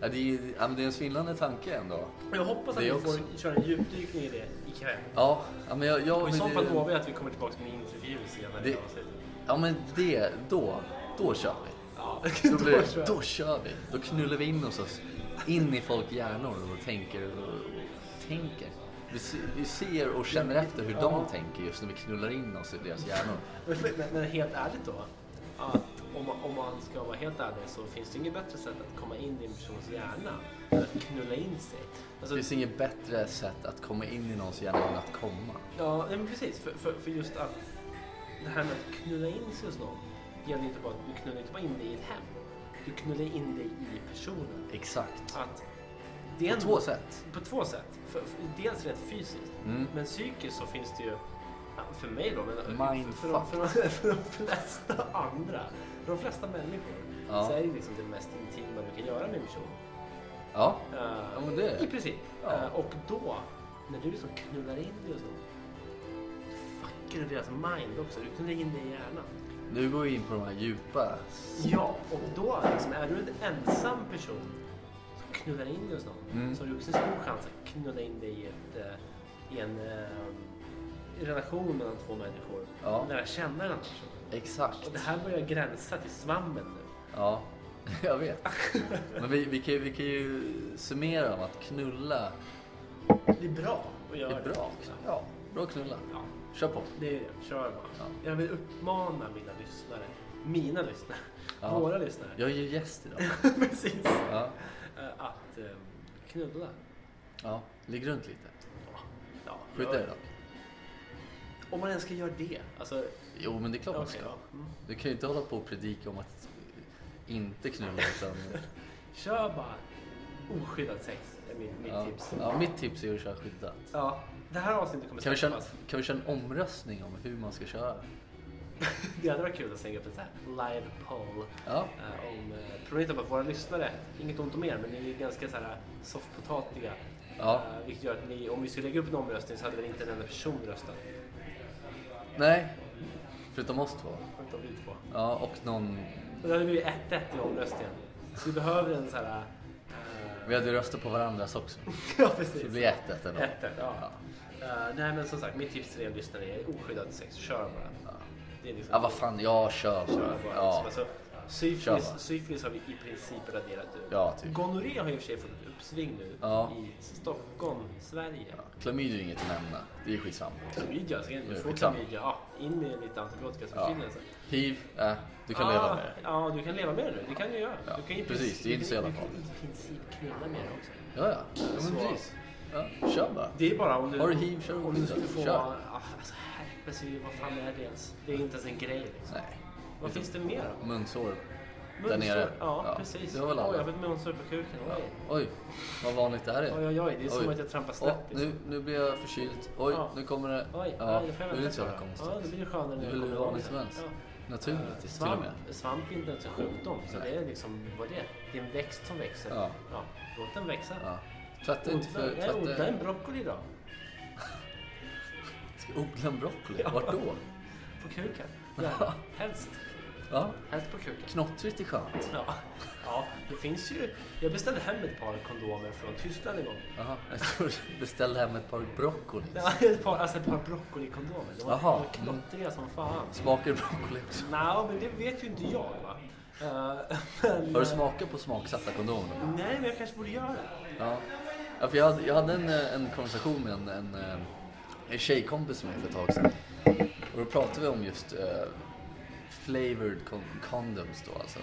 Speaker 2: ja det, är, ja, men det är en svindlande tanke ändå.
Speaker 1: Och jag hoppas att
Speaker 2: Det
Speaker 1: vi
Speaker 2: också.
Speaker 1: får köra en djupdykning i det ikväll.
Speaker 2: Ja, ja men jag... jag
Speaker 1: Och i så fall lovar
Speaker 2: det,
Speaker 1: jag att vi kommer tillbaka med en intervju senare i
Speaker 2: Det-
Speaker 1: avsnittet.
Speaker 2: ja, men det... Då. Då kör vi.
Speaker 1: Ja,
Speaker 2: Då,
Speaker 1: då
Speaker 2: blir,
Speaker 1: kör
Speaker 2: det-
Speaker 1: jag.
Speaker 2: då kör vi. Då knullar vi in oss, oss in i folk hjärnor och tänker och, och tänker. Vi, se- vi ser och känner efter hur de
Speaker 1: Ja. Alltså-
Speaker 2: tänker just när vi knullar in oss i deras hjärnor.
Speaker 1: Men, men, men helt ärligt då. Att om, man- om man ska vara helt ärlig så finns det inget bättre sätt att komma in i en persons hjärna än att knulla in sig.
Speaker 2: Det
Speaker 1: Alltså,
Speaker 2: finns inget bättre sätt att komma in i någons hjärna än att komma.
Speaker 1: ja, nej, men precis. För, för, för just att det här med att knulla in sig hos någon gäller inte bara att du knullar inte bara in dig i ett hem. Du knullar in dig i personen.
Speaker 2: Exakt.
Speaker 1: Att det är
Speaker 2: På
Speaker 1: en-
Speaker 2: två sätt.
Speaker 1: På två sätt. För, för, dels rent fysiskt.
Speaker 2: Mm.
Speaker 1: Men psykiskt så finns det ju, ja, för mig då, men för,
Speaker 2: Mindfuck.
Speaker 1: för, de, för, de, för de flesta andra, för de flesta människor,
Speaker 2: Ja.
Speaker 1: så är det liksom det mest intima du kan göra med en person.
Speaker 2: Ja.
Speaker 1: Eh,
Speaker 2: Ja, men det är det.
Speaker 1: I princip.
Speaker 2: Ja.
Speaker 1: Eh, och då, när du liksom knullar in dig och så, då fuckar du deras mind också. Du knullar in dig i hjärnan.
Speaker 2: Nu går vi in på de här djupa...
Speaker 1: Ja, och då liksom, är du en ensam person som knullar in dig hos någon
Speaker 2: Mm.
Speaker 1: så har du också en stor chans att knulla in dig i, ett, eh, i en eh, relation mellan två människor.
Speaker 2: Ja.
Speaker 1: Lära känna den andra personen.
Speaker 2: Exakt.
Speaker 1: Och det här börjar gränsa till svammen nu.
Speaker 2: Ja, jag vet. Men vi, vi, kan, ju- vi kan ju summera om att knulla
Speaker 1: Det är bra att
Speaker 2: är
Speaker 1: göra
Speaker 2: bra. Ja, bra knulla.
Speaker 1: Ja,
Speaker 2: Kör på.
Speaker 1: det är det. Kör bara.
Speaker 2: Ja.
Speaker 1: Jag vill uppmana mina lyssnare. Mina lyssnare.
Speaker 2: Ja.
Speaker 1: Våra lyssnare.
Speaker 2: Jag är ju gäst idag.
Speaker 1: Precis.
Speaker 2: Ja.
Speaker 1: Eh, att eh, knulla.
Speaker 2: ja. Ligg runt lite.
Speaker 1: Ja. Ja,
Speaker 2: Skjut
Speaker 1: gör
Speaker 2: dig
Speaker 1: det.
Speaker 2: då.
Speaker 1: Om man ens ska göra det. Alltså,
Speaker 2: Jo, men det är klart man
Speaker 1: okej,
Speaker 2: ska.
Speaker 1: ja. Mm.
Speaker 2: Du kan ju inte hålla på och predika om att Inte knulla utan...
Speaker 1: Kör bara oskyddat sex. är mitt, mitt
Speaker 2: ja.
Speaker 1: tips.
Speaker 2: ja, mitt tips är att köra skyddat.
Speaker 1: Ja, det här avsnittet kommer
Speaker 2: Kan vi, köra,
Speaker 1: släppas.
Speaker 2: kan vi köra en omröstning om hur man ska köra?
Speaker 1: Det hade varit kul att slänga upp en sån här live poll.
Speaker 2: Ja,
Speaker 1: eh, om, eh, tror ni inte om att våra lyssnare, inget ont om er, men ni är ganska så här softpotatiga.
Speaker 2: Ja.
Speaker 1: Eh, vilket gör att ni, om vi skulle lägga upp en omröstning så hade väl inte en enda person röstat.
Speaker 2: nej. Förutom oss två.
Speaker 1: Förutom vi två.
Speaker 2: Ja, och någon...
Speaker 1: Och då hade vi ju 1-1 i omröstningen. Så vi behöver en sån här... eh,
Speaker 2: Vi hade ju röstat på varandras också.
Speaker 1: ja,
Speaker 2: Så det
Speaker 1: precis.
Speaker 2: blir 1-1 ändå.
Speaker 1: 1-1, ja. Eh, nej, men som sagt, mitt tips till er lyssnare är oskyddat sex. Kör bara. Det är liksom
Speaker 2: Ja, vad fan. Ja, kör.
Speaker 1: Kör
Speaker 2: kör.
Speaker 1: bara.
Speaker 2: Ja.
Speaker 1: Alltså,
Speaker 2: Kör
Speaker 1: syfilis,
Speaker 2: bara.
Speaker 1: syfilis har vi i princip raderat ut.
Speaker 2: ja, typ.
Speaker 1: Gonorré har i och för sig fått ett uppsving nu
Speaker 2: Ja.
Speaker 1: i Stockholm, Sverige. alltså,
Speaker 2: Ja, Klamydia är inget att nämna. Det är skitsamma.
Speaker 1: Klamydia, så är det
Speaker 2: Nu,
Speaker 1: ju få
Speaker 2: exakt.
Speaker 1: klamydia. Ja, in med lite antibiotika så
Speaker 2: Ja.
Speaker 1: försvinner det sen.
Speaker 2: Hiv, äh, du kan leva med det.
Speaker 1: Ah. Ja, du kan leva med det nu. Det kan du göra.
Speaker 2: Ja,
Speaker 1: Du kan ju i
Speaker 2: precis.
Speaker 1: princip-
Speaker 2: Det är inte så jävla
Speaker 1: du kan ju i princip knulla med det också.
Speaker 2: Ja, ja. ja men
Speaker 1: Så-
Speaker 2: precis. Ja, kör bara.
Speaker 1: Det är bara om du...
Speaker 2: Har du hiv, kör
Speaker 1: Om du
Speaker 2: skyddat.
Speaker 1: skulle få...
Speaker 2: Kör.
Speaker 1: Ja, alltså herpes, är ju- vad fan är det ens? Det är inte ens en grej liksom.
Speaker 2: Nej.
Speaker 1: Vad finns det mer då?
Speaker 2: Munsår. Där
Speaker 1: Munsår.
Speaker 2: nere.
Speaker 1: Ja,
Speaker 2: Ja,
Speaker 1: precis.
Speaker 2: det var väl alla.
Speaker 1: Oj, jag har fått munsår på kuken.
Speaker 2: Ja.
Speaker 1: Oj.
Speaker 2: Oj, vad vanligt det här är.
Speaker 1: Oj, oj, oj. Det är som
Speaker 2: Oj.
Speaker 1: att jag trampar snett.
Speaker 2: Åh, nu, nu blir jag förkyld. Oj,
Speaker 1: Ja.
Speaker 2: nu kommer det.
Speaker 1: Oj,
Speaker 2: ja,
Speaker 1: aj, då får jag
Speaker 2: nu är det
Speaker 1: vänta
Speaker 2: inte så jävla
Speaker 1: på det.
Speaker 2: konstigt.
Speaker 1: Ja, det blir ju skönare
Speaker 2: Det
Speaker 1: när
Speaker 2: är väl
Speaker 1: kommer
Speaker 2: hur
Speaker 1: igång
Speaker 2: vanligt som
Speaker 1: sen.
Speaker 2: helst.
Speaker 1: Ja.
Speaker 2: Naturligt till och
Speaker 1: Svamp,
Speaker 2: med.
Speaker 1: svamp är inte ens en sjukdom, så
Speaker 2: Nej.
Speaker 1: det är liksom, vad det är? Det är en växt som växer.
Speaker 2: Ja.
Speaker 1: Låt den växa.
Speaker 2: Ja. Tvätta inte
Speaker 1: Odla,
Speaker 2: för... eh,
Speaker 1: nej, odla
Speaker 2: Tvätta.
Speaker 1: en broccoli då,
Speaker 2: Ska odla en broccoli?
Speaker 1: Ja.
Speaker 2: Vart då?
Speaker 1: på kuken. Gärna. Helst.
Speaker 2: Ja.
Speaker 1: Helst på kuken.
Speaker 2: Knottrigt är skönt.
Speaker 1: Ja. ja, det finns ju. Jag beställde hem ett par kondomer från Tyskland en gång.
Speaker 2: Jaha, jag trodde du beställde hem ett par broccoli.
Speaker 1: Ja, ett par, alltså ett par broccolikondomer. De var, de
Speaker 2: Jaha.
Speaker 1: var knottriga som fan.
Speaker 2: Smakar det broccoli också?
Speaker 1: Nej, men det vet ju inte jag va. Eh, men,
Speaker 2: Har du smakat på smaksatta kondomer?
Speaker 1: Nej, men jag kanske borde göra det.
Speaker 2: Ja. ja för jag hade, jag hade en, eh, en konversation med en, en, eh, en tjejkompis med mig för ett tag sedan. Och då pratade vi om just eh, flavored con- condoms då, alltså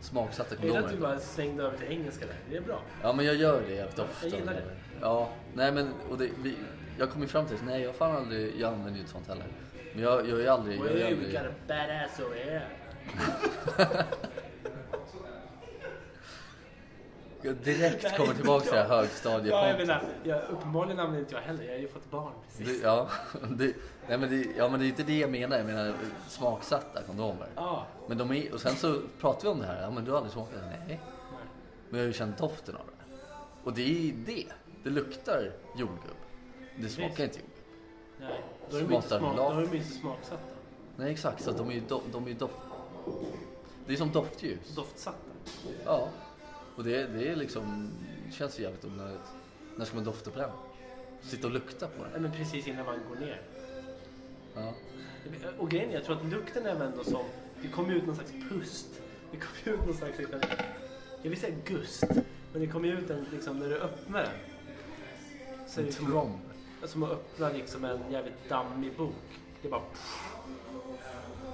Speaker 2: smaksatta
Speaker 1: Jag gillar att
Speaker 2: kondomer.
Speaker 1: du typ bara slängde över till engelska där. Det är bra.
Speaker 2: Ja men jag gör det jävligt ofta.
Speaker 1: Jag gillar det.
Speaker 2: Ja, nej men och det, vi, jag kom ju fram till att nej jag har fan aldrig, jag använder ju inte sånt heller. Men jag, jag är aldrig, jag är
Speaker 1: Well, we
Speaker 2: aldrig...
Speaker 1: got a badass over here.
Speaker 2: Jag direkt kommer tillbaka till det här
Speaker 1: Ja, jag
Speaker 2: högstadiepontus.
Speaker 1: menar, jag, uppenbarligen använder inte jag heller. Jag har ju fått barn precis.
Speaker 2: Det- Ja, det, nej men det, ja, men det är inte det jag menar. Jag menar smaksatta kondomer.
Speaker 1: Ja.
Speaker 2: Men de är, och sen så pratar vi om det här. Ja, men du har aldrig smakat det? Nej.
Speaker 1: Nej.
Speaker 2: Men jag har ju känt doften av det. Och det är det. Det luktar jordgubb. Det smakar inte jordgubb.
Speaker 1: Nej. Då är de inte,
Speaker 2: Smakar
Speaker 1: smak, då
Speaker 2: lag.
Speaker 1: har de inte smaksatta.
Speaker 2: Nej, exakt. Så att de är ju do, de är ju doft... Det är som doftljus.
Speaker 1: Doftsatta.
Speaker 2: Ja. Och det, det är liksom... Det känns ju jävligt onödigt. När ska man dofta på den? Sitta och lukta på den?
Speaker 1: Nej, men precis innan man går ner.
Speaker 2: Ja.
Speaker 1: Och grejen är, jag tror att lukten är väl ändå som... Det kom ut någon slags pust. Det kom ut någon slags... liten- Jag vill säga gust. Men det kom ut en, liksom, när du öppnar den. Så är
Speaker 2: En
Speaker 1: det som-
Speaker 2: tromb.
Speaker 1: Som att öppna liksom en jävligt dammig bok. Det är bara...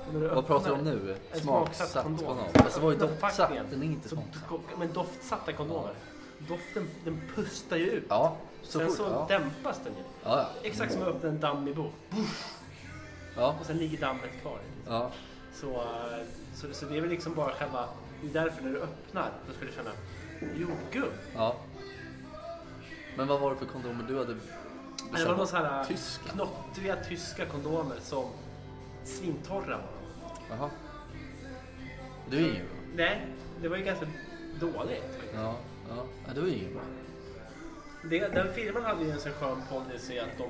Speaker 1: Och när du
Speaker 2: Vad pratar du om
Speaker 1: öppnar
Speaker 2: nu?
Speaker 1: en
Speaker 2: Smaksatt
Speaker 1: kondom.
Speaker 2: kondom. Fast det var ju
Speaker 1: Öppna
Speaker 2: doftsatt,
Speaker 1: förpackningen.
Speaker 2: den är inte
Speaker 1: Så
Speaker 2: smaksatt.
Speaker 1: do- men doftsatta kondomer. Doften den pustar ju ut.
Speaker 2: Ja, så
Speaker 1: sen
Speaker 2: fort.
Speaker 1: så
Speaker 2: ja.
Speaker 1: dämpas den ju.
Speaker 2: Ja,
Speaker 1: Exakt som att öppna en dammig bok.
Speaker 2: ja.
Speaker 1: Och sen ligger dammet kvar. Liksom.
Speaker 2: ja.
Speaker 1: Så, eh, så, så det är väl liksom bara själva... Det är därför när du öppnar, då ska du känna jordgubb.
Speaker 2: ja. Men vad var det för kondomer du hade
Speaker 1: Det var någon sån här äh,
Speaker 2: Tyska?
Speaker 1: knottriga tyska kondomer som svintorra var. de.
Speaker 2: Jaha. Det var ingen bra.
Speaker 1: Nej, det var ju ganska dåligt.
Speaker 2: Ja, ja. ja det var ingen bra.
Speaker 1: Det, den filmen hade ju en sån skön policy att de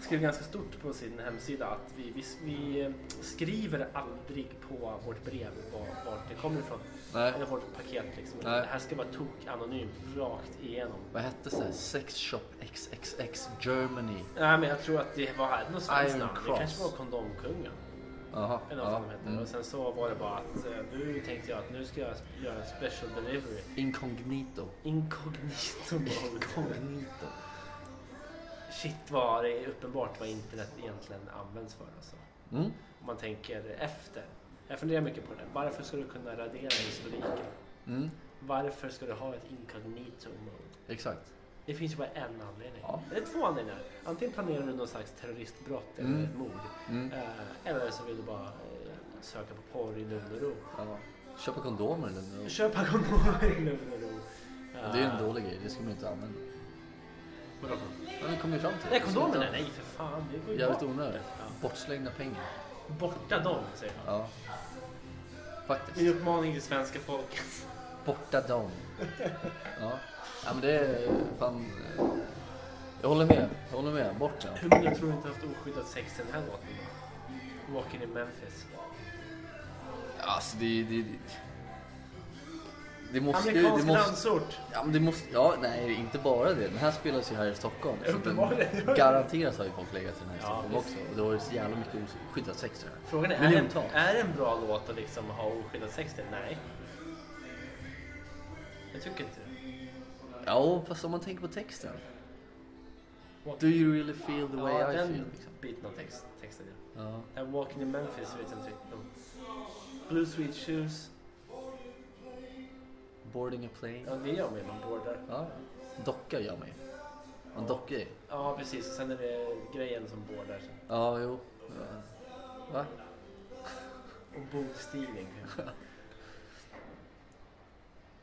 Speaker 1: skrev ganska stort på sin hemsida att vi, vi, vi eh, skriver aldrig på vårt brev var- vart det kommer ifrån.
Speaker 2: Nej.
Speaker 1: Eller vårt paket liksom.
Speaker 2: Nej.
Speaker 1: Det här ska vara tok anonymt rakt igenom.
Speaker 2: Vad hette det? här? Sex Shop XXX Germany.
Speaker 1: Nej men jag tror att det var här, något svenskt
Speaker 2: Iron
Speaker 1: namn. Det
Speaker 2: Cross.
Speaker 1: kanske var Kondomkungen.
Speaker 2: Jaha.
Speaker 1: Eller vad
Speaker 2: ja. Mm.
Speaker 1: fan de hette. Och sen så var det bara att eh, nu tänkte jag att nu ska jag göra en special delivery.
Speaker 2: Incognito.
Speaker 1: Incognito mode.
Speaker 2: Incognito.
Speaker 1: Shit vad det är uppenbart vad internet egentligen används för alltså.
Speaker 2: Mm.
Speaker 1: Om man tänker efter. Jag funderar mycket på det. Varför ska du kunna radera historiken?
Speaker 2: Mm.
Speaker 1: Varför ska du ha ett incognito mode?
Speaker 2: Exakt.
Speaker 1: Det finns ju bara en anledning.
Speaker 2: Ja.
Speaker 1: Eller två anledningar. Antingen planerar du någon slags terroristbrott eller
Speaker 2: Mm.
Speaker 1: ett mord.
Speaker 2: Mm.
Speaker 1: Eh, Eller så vill du bara eh, söka på porr i lugn och ro.
Speaker 2: Ja. Köpa kondomer eller något.
Speaker 1: Köpa kondomer i lugn och ro. Eh,
Speaker 2: Det är en dålig grej, det ska man inte använda.
Speaker 1: Vadå?
Speaker 2: Men vi kommer ju fram till
Speaker 1: Nej,
Speaker 2: Vi ska inte
Speaker 1: kondomerna?
Speaker 2: använda-
Speaker 1: Nej, för fan. Det går ju
Speaker 2: Jävligt
Speaker 1: bort.
Speaker 2: onödigt.
Speaker 1: Ja.
Speaker 2: Bortslängda pengar.
Speaker 1: Borta dem, säger han.
Speaker 2: Ja.
Speaker 1: Min
Speaker 2: Faktiskt.
Speaker 1: uppmaning till svenska folket.
Speaker 2: Borta dem. Ja. ja men det är fan... eh, Jag håller med. Jag håller med. Bort dem.
Speaker 1: Hur många tror du inte haft oskyddat sex den här låten? Walking in Memphis.
Speaker 2: Alltså det... Det, det, det måste ju... Det
Speaker 1: Amerikansk
Speaker 2: måste, Alltså,
Speaker 1: landsort.
Speaker 2: ja, men det måste, ja, nej, inte bara det. Den här spelas ju här i Stockholm. Så att den,
Speaker 1: Uppenbarligen.
Speaker 2: garanterat har ju folk legat i den här i
Speaker 1: Ja,
Speaker 2: Stockholm
Speaker 1: visst.
Speaker 2: också. Och det har ju så jävla mycket oskyddat sex i den här.
Speaker 1: Frågan är, är det,
Speaker 2: Miljontal.
Speaker 1: en, är det en bra låt att liksom ha oskyddat sex till? Nej. Jag tycker inte det.
Speaker 2: Ja, fast om man tänker på texten. Do you really feel the way
Speaker 1: ja,
Speaker 2: I
Speaker 1: den
Speaker 2: feel? Liksom.
Speaker 1: biten av text, texten. ja.
Speaker 2: Ja.
Speaker 1: Det här Walking in Memphis vet jag inte riktigt om. Blue Sweet Shoes.
Speaker 2: Boarding a plane.
Speaker 1: Ja, det gör man ju. Man boardar.
Speaker 2: Ja. Docka gör man ju. Man dockar ju.
Speaker 1: Ja, precis. Sen är det grejen som boardar. sen.
Speaker 2: Ja, jo. Ja. Va?
Speaker 1: Och bordstigning.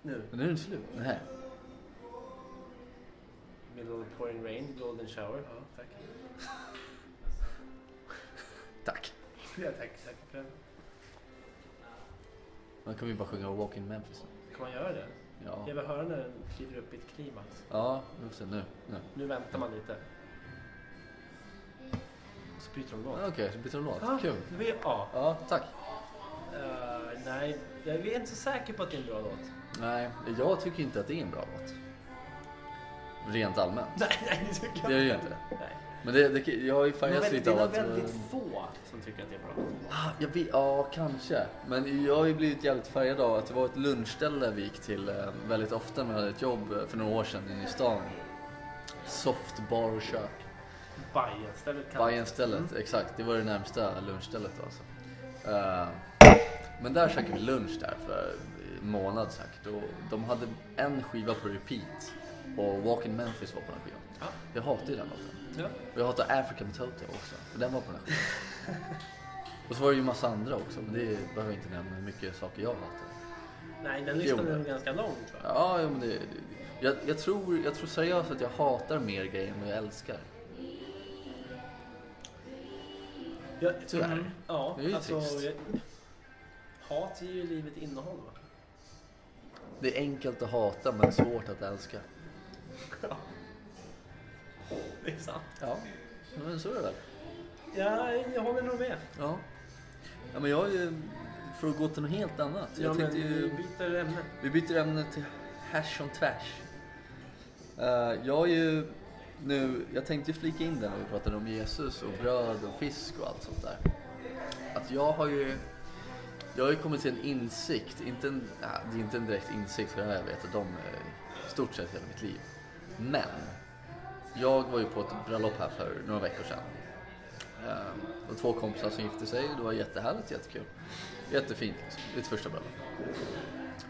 Speaker 1: nu.
Speaker 2: Men nu är den slut. Nej.
Speaker 1: Middle of pouring rain, golden shower. Ja, tack.
Speaker 2: Tack.
Speaker 1: Ja, tack. Tack för det.
Speaker 2: Man kan ju bara sjunga Walk in Memphis.
Speaker 1: Kan man göra det?
Speaker 2: Ja.
Speaker 1: Jag vill höra när den kliver upp i ett klimax.
Speaker 2: Ja, just det. Nu. nu.
Speaker 1: Nu väntar man lite. Och så byter de låt.
Speaker 2: Ja, Okej, så byter de låt.
Speaker 1: Ah,
Speaker 2: Kul.
Speaker 1: det var ju A.
Speaker 2: Ja, tack.
Speaker 1: Eh, nej, jag är inte så säker på att det är en bra låt.
Speaker 2: Nej, jag tycker inte att det är en bra låt. Rent allmänt.
Speaker 1: Nej, nej, det tycker
Speaker 2: Det
Speaker 1: jag
Speaker 2: gör ju inte det.
Speaker 1: Nej.
Speaker 2: Men det, det, jag är
Speaker 1: Det är
Speaker 2: färgad
Speaker 1: väldigt,
Speaker 2: lite
Speaker 1: det
Speaker 2: av
Speaker 1: var
Speaker 2: att...
Speaker 1: väldigt
Speaker 2: eh,
Speaker 1: få som tycker att det är bra.
Speaker 2: Ah, jag vet, ja, kanske. Men jag har ju blivit jävligt färgad av att det var ett lunchställe vi gick till eh, väldigt ofta när jag hade ett jobb eh, för några år sedan inne i stan. Softbar och kök.
Speaker 1: Bajenstället kan...
Speaker 2: Bajenstället, exakt. Det var det närmsta lunchstället då alltså. Eh, men där käkade vi lunch där för en månad säkert och de hade en skiva på repeat och Walk in Memphis var på den skivan.
Speaker 1: Ja.
Speaker 2: Jag hatade ju den låten.
Speaker 1: Ja.
Speaker 2: Och jag hatar African Toto också, för den var på den här skivan. Och så var det ju massa andra också, men det behöver jag inte nämna hur mycket saker jag hatar.
Speaker 1: Nej, den listan
Speaker 2: Jo.
Speaker 1: är nog ganska lång tror jag.
Speaker 2: Ja, jo, men det, det, jag, jag, tror, jag tror seriöst att jag hatar mer grejer än vad jag älskar.
Speaker 1: jag
Speaker 2: Tyvärr.
Speaker 1: Ja,
Speaker 2: Det är ju
Speaker 1: alltså...
Speaker 2: trist.
Speaker 1: Jag, hat ger ju livet innehåll va?
Speaker 2: Det är enkelt att hata men svårt att älska.
Speaker 1: Det är sant.
Speaker 2: Ja, men så är det väl.
Speaker 1: Ja, jag håller nog med.
Speaker 2: Ja. ja men jag är ju, för att gå till något helt annat.
Speaker 1: Ja,
Speaker 2: Jag
Speaker 1: men
Speaker 2: tänkte
Speaker 1: vi
Speaker 2: ju,
Speaker 1: byter ämne.
Speaker 2: vi byter ämne till hash on tvärs. Eh, jag är ju nu, jag tänkte ju flika in det när vi pratade om Jesus och bröd och fisk och allt sånt där. Att jag har ju, jag har ju kommit till en insikt, inte en, nej, det är inte en direkt insikt för det här jag vetat om eh, i stort sett hela mitt liv. Men, jag var ju på ett bröllop här för några veckor sedan. Ehm, och två kompisar som gifte sig, det var jättehärligt, jättekul. Jättefint liksom, mitt första bröllop.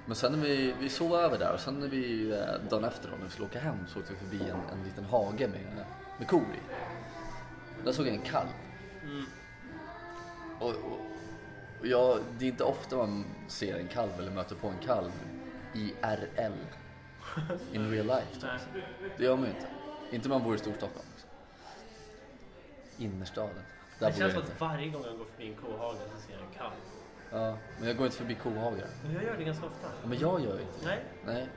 Speaker 2: Men sen när vi, vi sov över där och sen när vi eh, dagen efter då, när vi skulle åka hem så åkte vi förbi en, en liten hage med, med kor i. Där såg jag en kalv. Och, och, och jag, det är inte ofta man ser en kalv eller möter på en kalv i RL. In real life. Då.
Speaker 1: Nej.
Speaker 2: Det gör man ju inte. Inte om man bor i Storstockholm. Liksom. Innerstaden. Där
Speaker 1: Det
Speaker 2: bor jag
Speaker 1: känns som
Speaker 2: inte.
Speaker 1: att varje gång jag går förbi en kohage så ser jag en kalv.
Speaker 2: Ja, men jag går inte förbi kohagar.
Speaker 1: Men jag gör det ganska ofta.
Speaker 2: Ja, men jag gör ju inte
Speaker 1: Nej.
Speaker 2: Nej.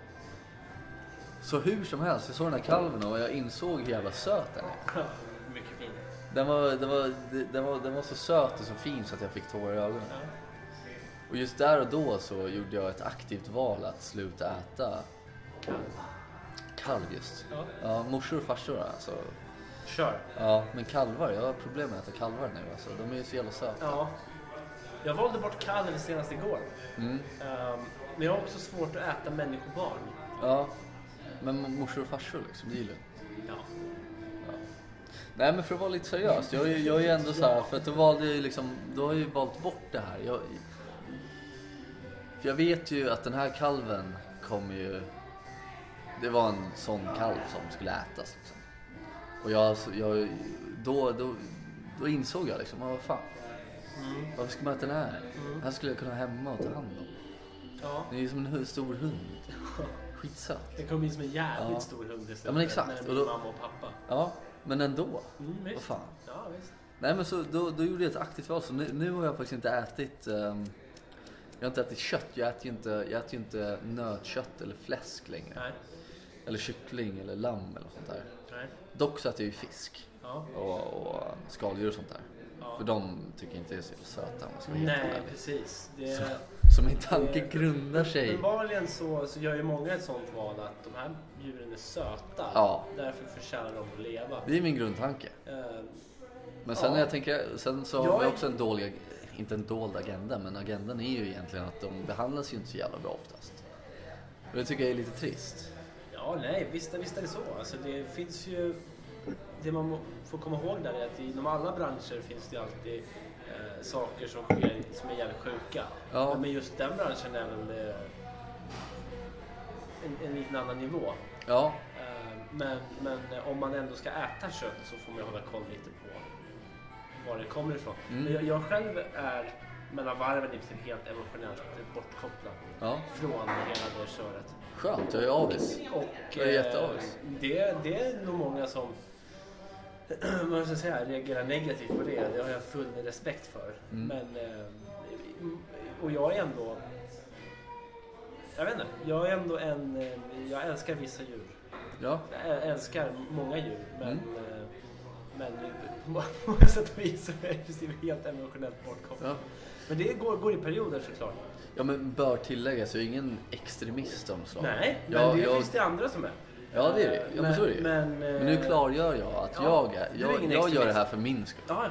Speaker 2: Så hur som helst, jag såg den här kalven och jag insåg hur jävla söt den är.
Speaker 1: Mycket fint.
Speaker 2: Den var, den, var, den, var, den var så söt och så fin så att jag fick tårar i ögonen.
Speaker 1: Ja.
Speaker 2: Och just där och då så gjorde jag ett aktivt val att sluta äta
Speaker 1: Kalv.
Speaker 2: kalv just.
Speaker 1: Ja.
Speaker 2: Ja, morsor och farsor alltså.
Speaker 1: Kör.
Speaker 2: Ja, men kalvar, jag har problem med att äta kalvar nu alltså. De är ju så jävla söta.
Speaker 1: Ja. Jag valde bort kalven senast igår.
Speaker 2: Mm.
Speaker 1: Ehm, men jag har också svårt att äta människobarn.
Speaker 2: Ja. Men morsor och farsor liksom, det är ju lugnt.
Speaker 1: Ja.
Speaker 2: Nej men för att vara lite seriös, jag är ju jag är ju ändå så här, för att då valde jag ju liksom, då har jag ju valt bort det här. Jag, för jag vet ju att den här kalven kommer ju, det var en sån kalv som skulle ätas liksom. Och jag, alltså, jag då, då, då insåg jag liksom, ah, vad fan,
Speaker 1: Mm.
Speaker 2: varför ska man äta den här? Den här skulle jag kunna ha hemma och ta hand om.
Speaker 1: Ja.
Speaker 2: Det är ju som en hu- stor hund. Skitsöt.
Speaker 1: Den kom in som en jävligt
Speaker 2: Ja.
Speaker 1: stor hund istället
Speaker 2: Ja, men exakt.
Speaker 1: när
Speaker 2: Och
Speaker 1: min
Speaker 2: då-
Speaker 1: mamma och pappa.
Speaker 2: Ja, men ändå.
Speaker 1: Mm,
Speaker 2: Vad
Speaker 1: visst.
Speaker 2: fan.
Speaker 1: Ja, visst.
Speaker 2: Nej men så då, då gjorde jag ett aktivt val. Så nu, nu har jag faktiskt inte ätit... ehm, jag har inte ätit kött. Jag äter ju inte, jag äter ju inte nötkött eller fläsk längre.
Speaker 1: Nej.
Speaker 2: Eller kyckling eller lamm eller sånt där.
Speaker 1: Nej.
Speaker 2: Dock så äter jag ju fisk
Speaker 1: Ja.
Speaker 2: och, och skaldjur och sånt där.
Speaker 1: Ja.
Speaker 2: För de tycker jag inte är så jävla söta om jag ska vara helt
Speaker 1: Nej,
Speaker 2: ärlig.
Speaker 1: precis. Det,
Speaker 2: Så, så min tanke grundar sig...
Speaker 1: uppenbarligen så, så gör ju många ett sånt val att de här djuren är söta.
Speaker 2: Ja.
Speaker 1: Därför förtjänar de att leva.
Speaker 2: Det är min grundtanke.
Speaker 1: Eh,
Speaker 2: Men sen
Speaker 1: Ja.
Speaker 2: när jag tänker, sen så har
Speaker 1: Jag
Speaker 2: vi
Speaker 1: är-
Speaker 2: också en dålig, inte en dold agenda, men agendan är ju egentligen att de behandlas ju inte så jävla bra oftast. Och det tycker jag är lite trist.
Speaker 1: Ja, nej, visst, visst är det så. Alltså, det finns ju... Det man må- får komma ihåg där är att inom alla branscher finns det ju alltid eh, saker som sker som är jävligt sjuka.
Speaker 2: Ja.
Speaker 1: Men med just den branschen är väl eh, en, en liten annan nivå.
Speaker 2: Ja,
Speaker 1: Eh, men, men eh, om man ändå ska äta kött så får man ju hålla koll lite på var det kommer ifrån.
Speaker 2: Mm.
Speaker 1: Men jag, jag själv är mellan varven i princip helt emotionellt bortkopplad
Speaker 2: ja.
Speaker 1: från hela det köret.
Speaker 2: Skönt, jag är avis.
Speaker 1: Och
Speaker 2: Jag är
Speaker 1: eh,
Speaker 2: jätteavis.
Speaker 1: det, det är nog många som vad ska jag säga, reagerar negativt på det. Det har jag full respekt för.
Speaker 2: Mm.
Speaker 1: Men, eh, och jag är ändå... Jag vet inte. Jag är ändå en... eh, Jag älskar vissa djur.
Speaker 2: Ja,
Speaker 1: Jag älskar många djur. Men,
Speaker 2: Mm.
Speaker 1: eh, men på många sätt och vis så är jag i princip helt emotionellt bortkopplad.
Speaker 2: ja.
Speaker 1: Men det går, går i perioder såklart.
Speaker 2: ja men bör tilläggas, jag är ingen extremist om så.
Speaker 1: Nej, men
Speaker 2: jag,
Speaker 1: det
Speaker 2: jag,
Speaker 1: finns det andra som är.
Speaker 2: Ja, det är det. Ja, men så är det ju.
Speaker 1: men,
Speaker 2: Men nu
Speaker 1: eh,
Speaker 2: klargör jag att
Speaker 1: Ja,
Speaker 2: jag, är,
Speaker 1: du är
Speaker 2: jag,
Speaker 1: ingen
Speaker 2: jag gör det
Speaker 1: extremist.
Speaker 2: här för min skull.
Speaker 1: Ja,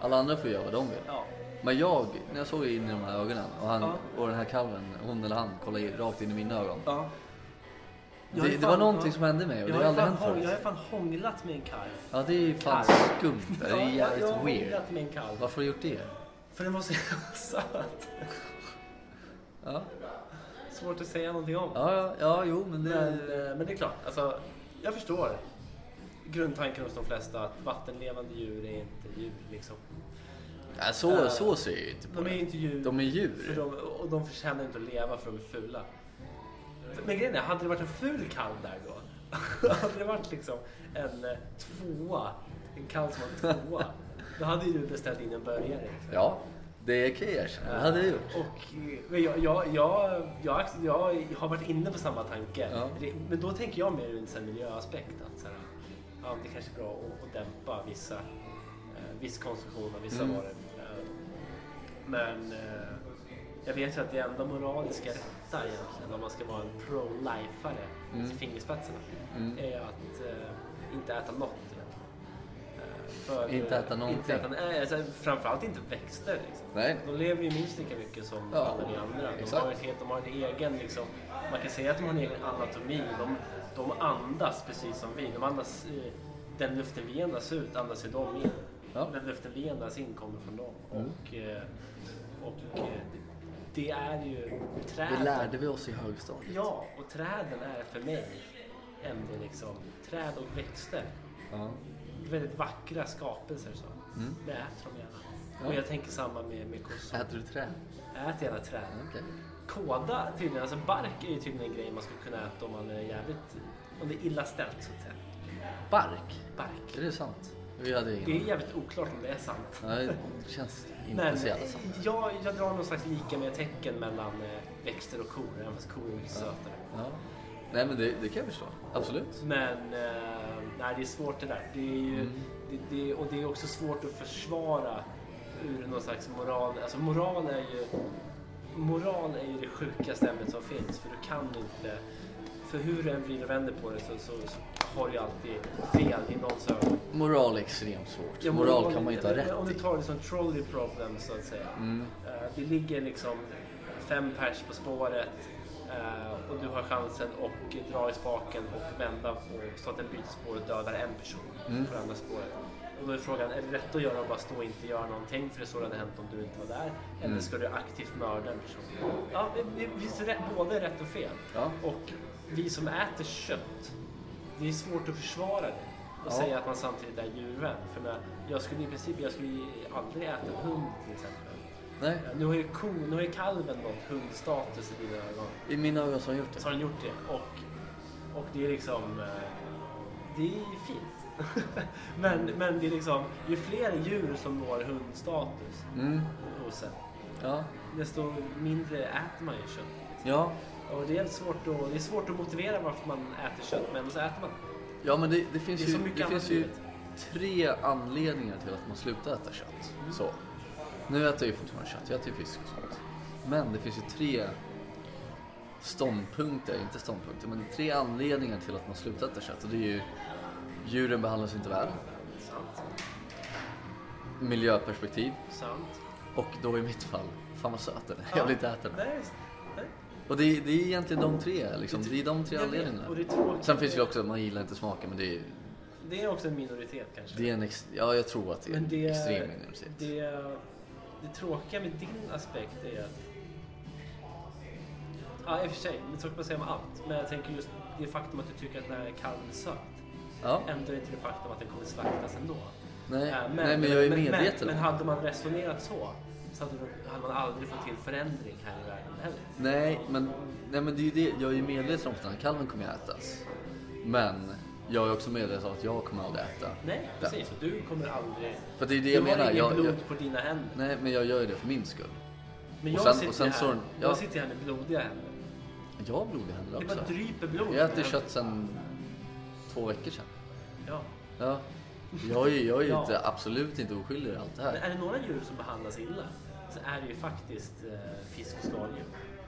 Speaker 2: Alla andra får göra vad de vill.
Speaker 1: ja.
Speaker 2: Men jag, när jag såg in i de här ögonen och, han,
Speaker 1: Ja.
Speaker 2: och den här kalven, hon eller han, kollade i- rakt in i mina ögon.
Speaker 1: ja. Jag är
Speaker 2: Det, det
Speaker 1: fan-
Speaker 2: var någonting
Speaker 1: ja.
Speaker 2: som hände mig och det
Speaker 1: Jag
Speaker 2: har
Speaker 1: har,
Speaker 2: aldrig
Speaker 1: fan,
Speaker 2: hänt
Speaker 1: hå- jag har
Speaker 2: förut.
Speaker 1: fan hånglat med en kalv.
Speaker 2: Ja, det är fan
Speaker 1: Kalv.
Speaker 2: skumt. Det
Speaker 1: Ja,
Speaker 2: är
Speaker 1: jag- jag har
Speaker 2: jävligt weird.
Speaker 1: hånglat med en kalv.
Speaker 2: Varför har du gjort det?
Speaker 1: För den var så jävla söt.
Speaker 2: Ja,
Speaker 1: Svårt att säga någonting om.
Speaker 2: ja, ja, ja jo, men det...
Speaker 1: Men, eh, men det är klart, alltså, jag förstår grundtanken hos de flesta att vattenlevande djur är inte djur. Liksom.
Speaker 2: Nej, så,
Speaker 1: eh,
Speaker 2: så ser jag ju inte på
Speaker 1: De är
Speaker 2: det.
Speaker 1: inte djur
Speaker 2: De
Speaker 1: för
Speaker 2: är djur.
Speaker 1: de, och de förtjänar inte att leva för de är fula. Men grejen är, hade det varit en ful kalv där då? hade det varit liksom en eh, tvåa, en kalv som var en tvåa, då hade ju du beställt in en burgare. Liksom.
Speaker 2: Ja, det kan jag erkänna. Det hade jag gjort.
Speaker 1: Och, eh, men jag, jag, jag, jag, ac- jag har varit inne på samma tanke.
Speaker 2: Ja.
Speaker 1: Det- Men då tänker jag mer ur en sån här miljöaspekt. Att så här, ja, det kanske är bra att, att dämpa vissa, eh, viss konsumtion av vissa
Speaker 2: Mm.
Speaker 1: varor. Eh, men eh, jag vet ju att det enda moraliska rätta egentligen, om man ska vara en pro-lifare
Speaker 2: Mm.
Speaker 1: till fingerspetsarna,
Speaker 2: Mm.
Speaker 1: är att eh, inte äta något egentligen. Eh, för-
Speaker 2: Inte äta någonting.
Speaker 1: Inte äta, nej, alltså, framförallt inte växter. Liksom.
Speaker 2: Nej.
Speaker 1: De lever ju minst lika mycket som
Speaker 2: Ja,
Speaker 1: alla vi andra. De
Speaker 2: exakt.
Speaker 1: har, ett, helt- de har en egen, liksom, man kan säga att de har en egen anatomi. De, de andas precis som vi. De andas, eh, den luften vi andas ut andas ju de in.
Speaker 2: Ja.
Speaker 1: Den luften vi andas in kommer från dem.
Speaker 2: Mm.
Speaker 1: Och, eh, och eh, det- det är ju träden.
Speaker 2: Det lärde vi oss i högstadiet.
Speaker 1: Ja, och träden är för mig ändå liksom träd och växter.
Speaker 2: Ja.
Speaker 1: Väldigt vackra skapelser. Så.
Speaker 2: Mm.
Speaker 1: Jag äter dem gärna.
Speaker 2: Ja.
Speaker 1: Och jag tänker samma med, med kossor.
Speaker 2: Äter du träd?
Speaker 1: Ät gärna träd.
Speaker 2: Okej.
Speaker 1: Kåda tydligen, alltså bark är ju tydligen en grej man skulle kunna äta om man är jävligt, om det är illa ställt så att säga.
Speaker 2: Bark?
Speaker 1: Bark.
Speaker 2: Är det sant? Vi hade
Speaker 1: Det
Speaker 2: ingen
Speaker 1: är jävligt oklart om det är sant.
Speaker 2: Nej, det känns inte
Speaker 1: Men eh,
Speaker 2: så jävla sant.
Speaker 1: jag, jag drar någon slags lika med tecken mellan eh, växter och kor, även fast kor är mycket sötare.
Speaker 2: Ja. Nej men det, det kan jag förstå. Absolut.
Speaker 1: Men eh, nej, det är svårt det där. Det är ju,
Speaker 2: Mm.
Speaker 1: det, det, och det är också svårt att försvara ur någon slags moral. Alltså moral är ju, moral är ju det sjukaste ämnet som finns. För du kan inte, för hur du än vrider och vänder på det så, så, så har du alltid fel i någons ögon.
Speaker 2: Moral är extremt svårt.
Speaker 1: Ja,
Speaker 2: moral, kan man ju inte ha
Speaker 1: men Om
Speaker 2: rätt
Speaker 1: du
Speaker 2: i.
Speaker 1: tar det som trolley problem så att säga.
Speaker 2: Mm.
Speaker 1: Eh, Det ligger liksom fem pers på spåret eh, och du har chansen att dra i spaken och vända på så att den byter spår och dödar en person
Speaker 2: Mm.
Speaker 1: på det andra spåret. Och då är frågan, är det rätt att göra att bara stå och inte göra någonting för det är så det hade hänt om du inte var där? Eller
Speaker 2: Mm.
Speaker 1: ska du aktivt mörda en person? Ja, det- det finns rätt, både rätt och fel.
Speaker 2: Ja.
Speaker 1: Och vi som äter kött, det är svårt att försvara det och
Speaker 2: Ja.
Speaker 1: säga att man samtidigt är djurvän. För jag, jag skulle i princip jag skulle ju aldrig äta hund till exempel.
Speaker 2: Nej,
Speaker 1: Ja, Nu har ju, ko, nu har ju kalven nått hundstatus i dina ögon.
Speaker 2: i mina ögon så har han gjort
Speaker 1: Så
Speaker 2: det.
Speaker 1: har den gjort det. Och, och det är liksom... eh, Det är fint. men, men det är liksom, ju fler djur som når hundstatus
Speaker 2: Mm.
Speaker 1: hos en,
Speaker 2: Ja.
Speaker 1: desto mindre äter man ju kött. Liksom.
Speaker 2: Ja.
Speaker 1: Och det är, svårt att, det är svårt att motivera varför man äter kött, men så äter man.
Speaker 2: ja, men det, det finns
Speaker 1: Det är så
Speaker 2: ju,
Speaker 1: mycket
Speaker 2: det
Speaker 1: annat
Speaker 2: finns
Speaker 1: i
Speaker 2: ju
Speaker 1: livet.
Speaker 2: tre anledningar till att man slutar äta kött.
Speaker 1: Mm.
Speaker 2: Så. Nu äter jag ju fortfarande kött, jag äter ju fisk och sånt. Men det finns ju tre ståndpunkter, inte ståndpunkter, men tre anledningar till att man slutar äta kött. Och det är ju, djuren behandlas inte väl,
Speaker 1: Sant.
Speaker 2: miljöperspektiv
Speaker 1: Sant.
Speaker 2: och då i mitt fall, fan vad söt den är.
Speaker 1: Ja.
Speaker 2: Jag vill inte äta den.
Speaker 1: Nej, just- nej.
Speaker 2: Och det, är- det är egentligen de tre, liksom. det är de tre
Speaker 1: Jag vet,
Speaker 2: anledningarna.
Speaker 1: Och det är tråkigt.
Speaker 2: Sen finns det ju också att man gillar inte smaken men det är,
Speaker 1: Det är också en minoritet kanske.
Speaker 2: det är en ex, ja jag tror att det är
Speaker 1: Men det-
Speaker 2: en extrem minoritet.
Speaker 1: Det, det tråkiga med din aspekt är att... Ja, i och för sig, det är tråkigt att säga om allt. Men jag tänker just det faktum att du tycker att den här kalven är söt.
Speaker 2: Ja,
Speaker 1: Ändrar inte det faktum att den kommer slaktas ändå.
Speaker 2: nej,
Speaker 1: Äh,
Speaker 2: nej men jag är medveten
Speaker 1: Men,
Speaker 2: om
Speaker 1: men hade man resonerat så, så hade, du- hade man aldrig fått till förändring här i världen heller.
Speaker 2: Nej men, nej men det är ju det, jag är ju medveten om att den här kalven kommer att ätas. Men jag är också medveten om att jag kommer aldrig äta.
Speaker 1: Nej,
Speaker 2: den.
Speaker 1: precis. Och du kommer aldrig...
Speaker 2: För det är det
Speaker 1: Du
Speaker 2: jag
Speaker 1: har
Speaker 2: menar.
Speaker 1: inget
Speaker 2: Jag,
Speaker 1: blod
Speaker 2: jag,
Speaker 1: på dina händer.
Speaker 2: nej men jag gör ju det för min skull.
Speaker 1: Men
Speaker 2: och
Speaker 1: jag,
Speaker 2: sen-
Speaker 1: sitter
Speaker 2: och sen
Speaker 1: här,
Speaker 2: så- ja.
Speaker 1: jag sitter här med blodiga händer.
Speaker 2: Jag har blod i händerna
Speaker 1: Det bara
Speaker 2: också.
Speaker 1: dryper blod.
Speaker 2: Jag äter kött sedan två veckor sedan.
Speaker 1: Ja.
Speaker 2: Ja. Jag är ju jag är ju
Speaker 1: Ja.
Speaker 2: inte, absolut inte oskyldig i allt det
Speaker 1: Men
Speaker 2: här.
Speaker 1: är det några djur som behandlas illa så är det ju faktiskt eh, fisk och skaldjur.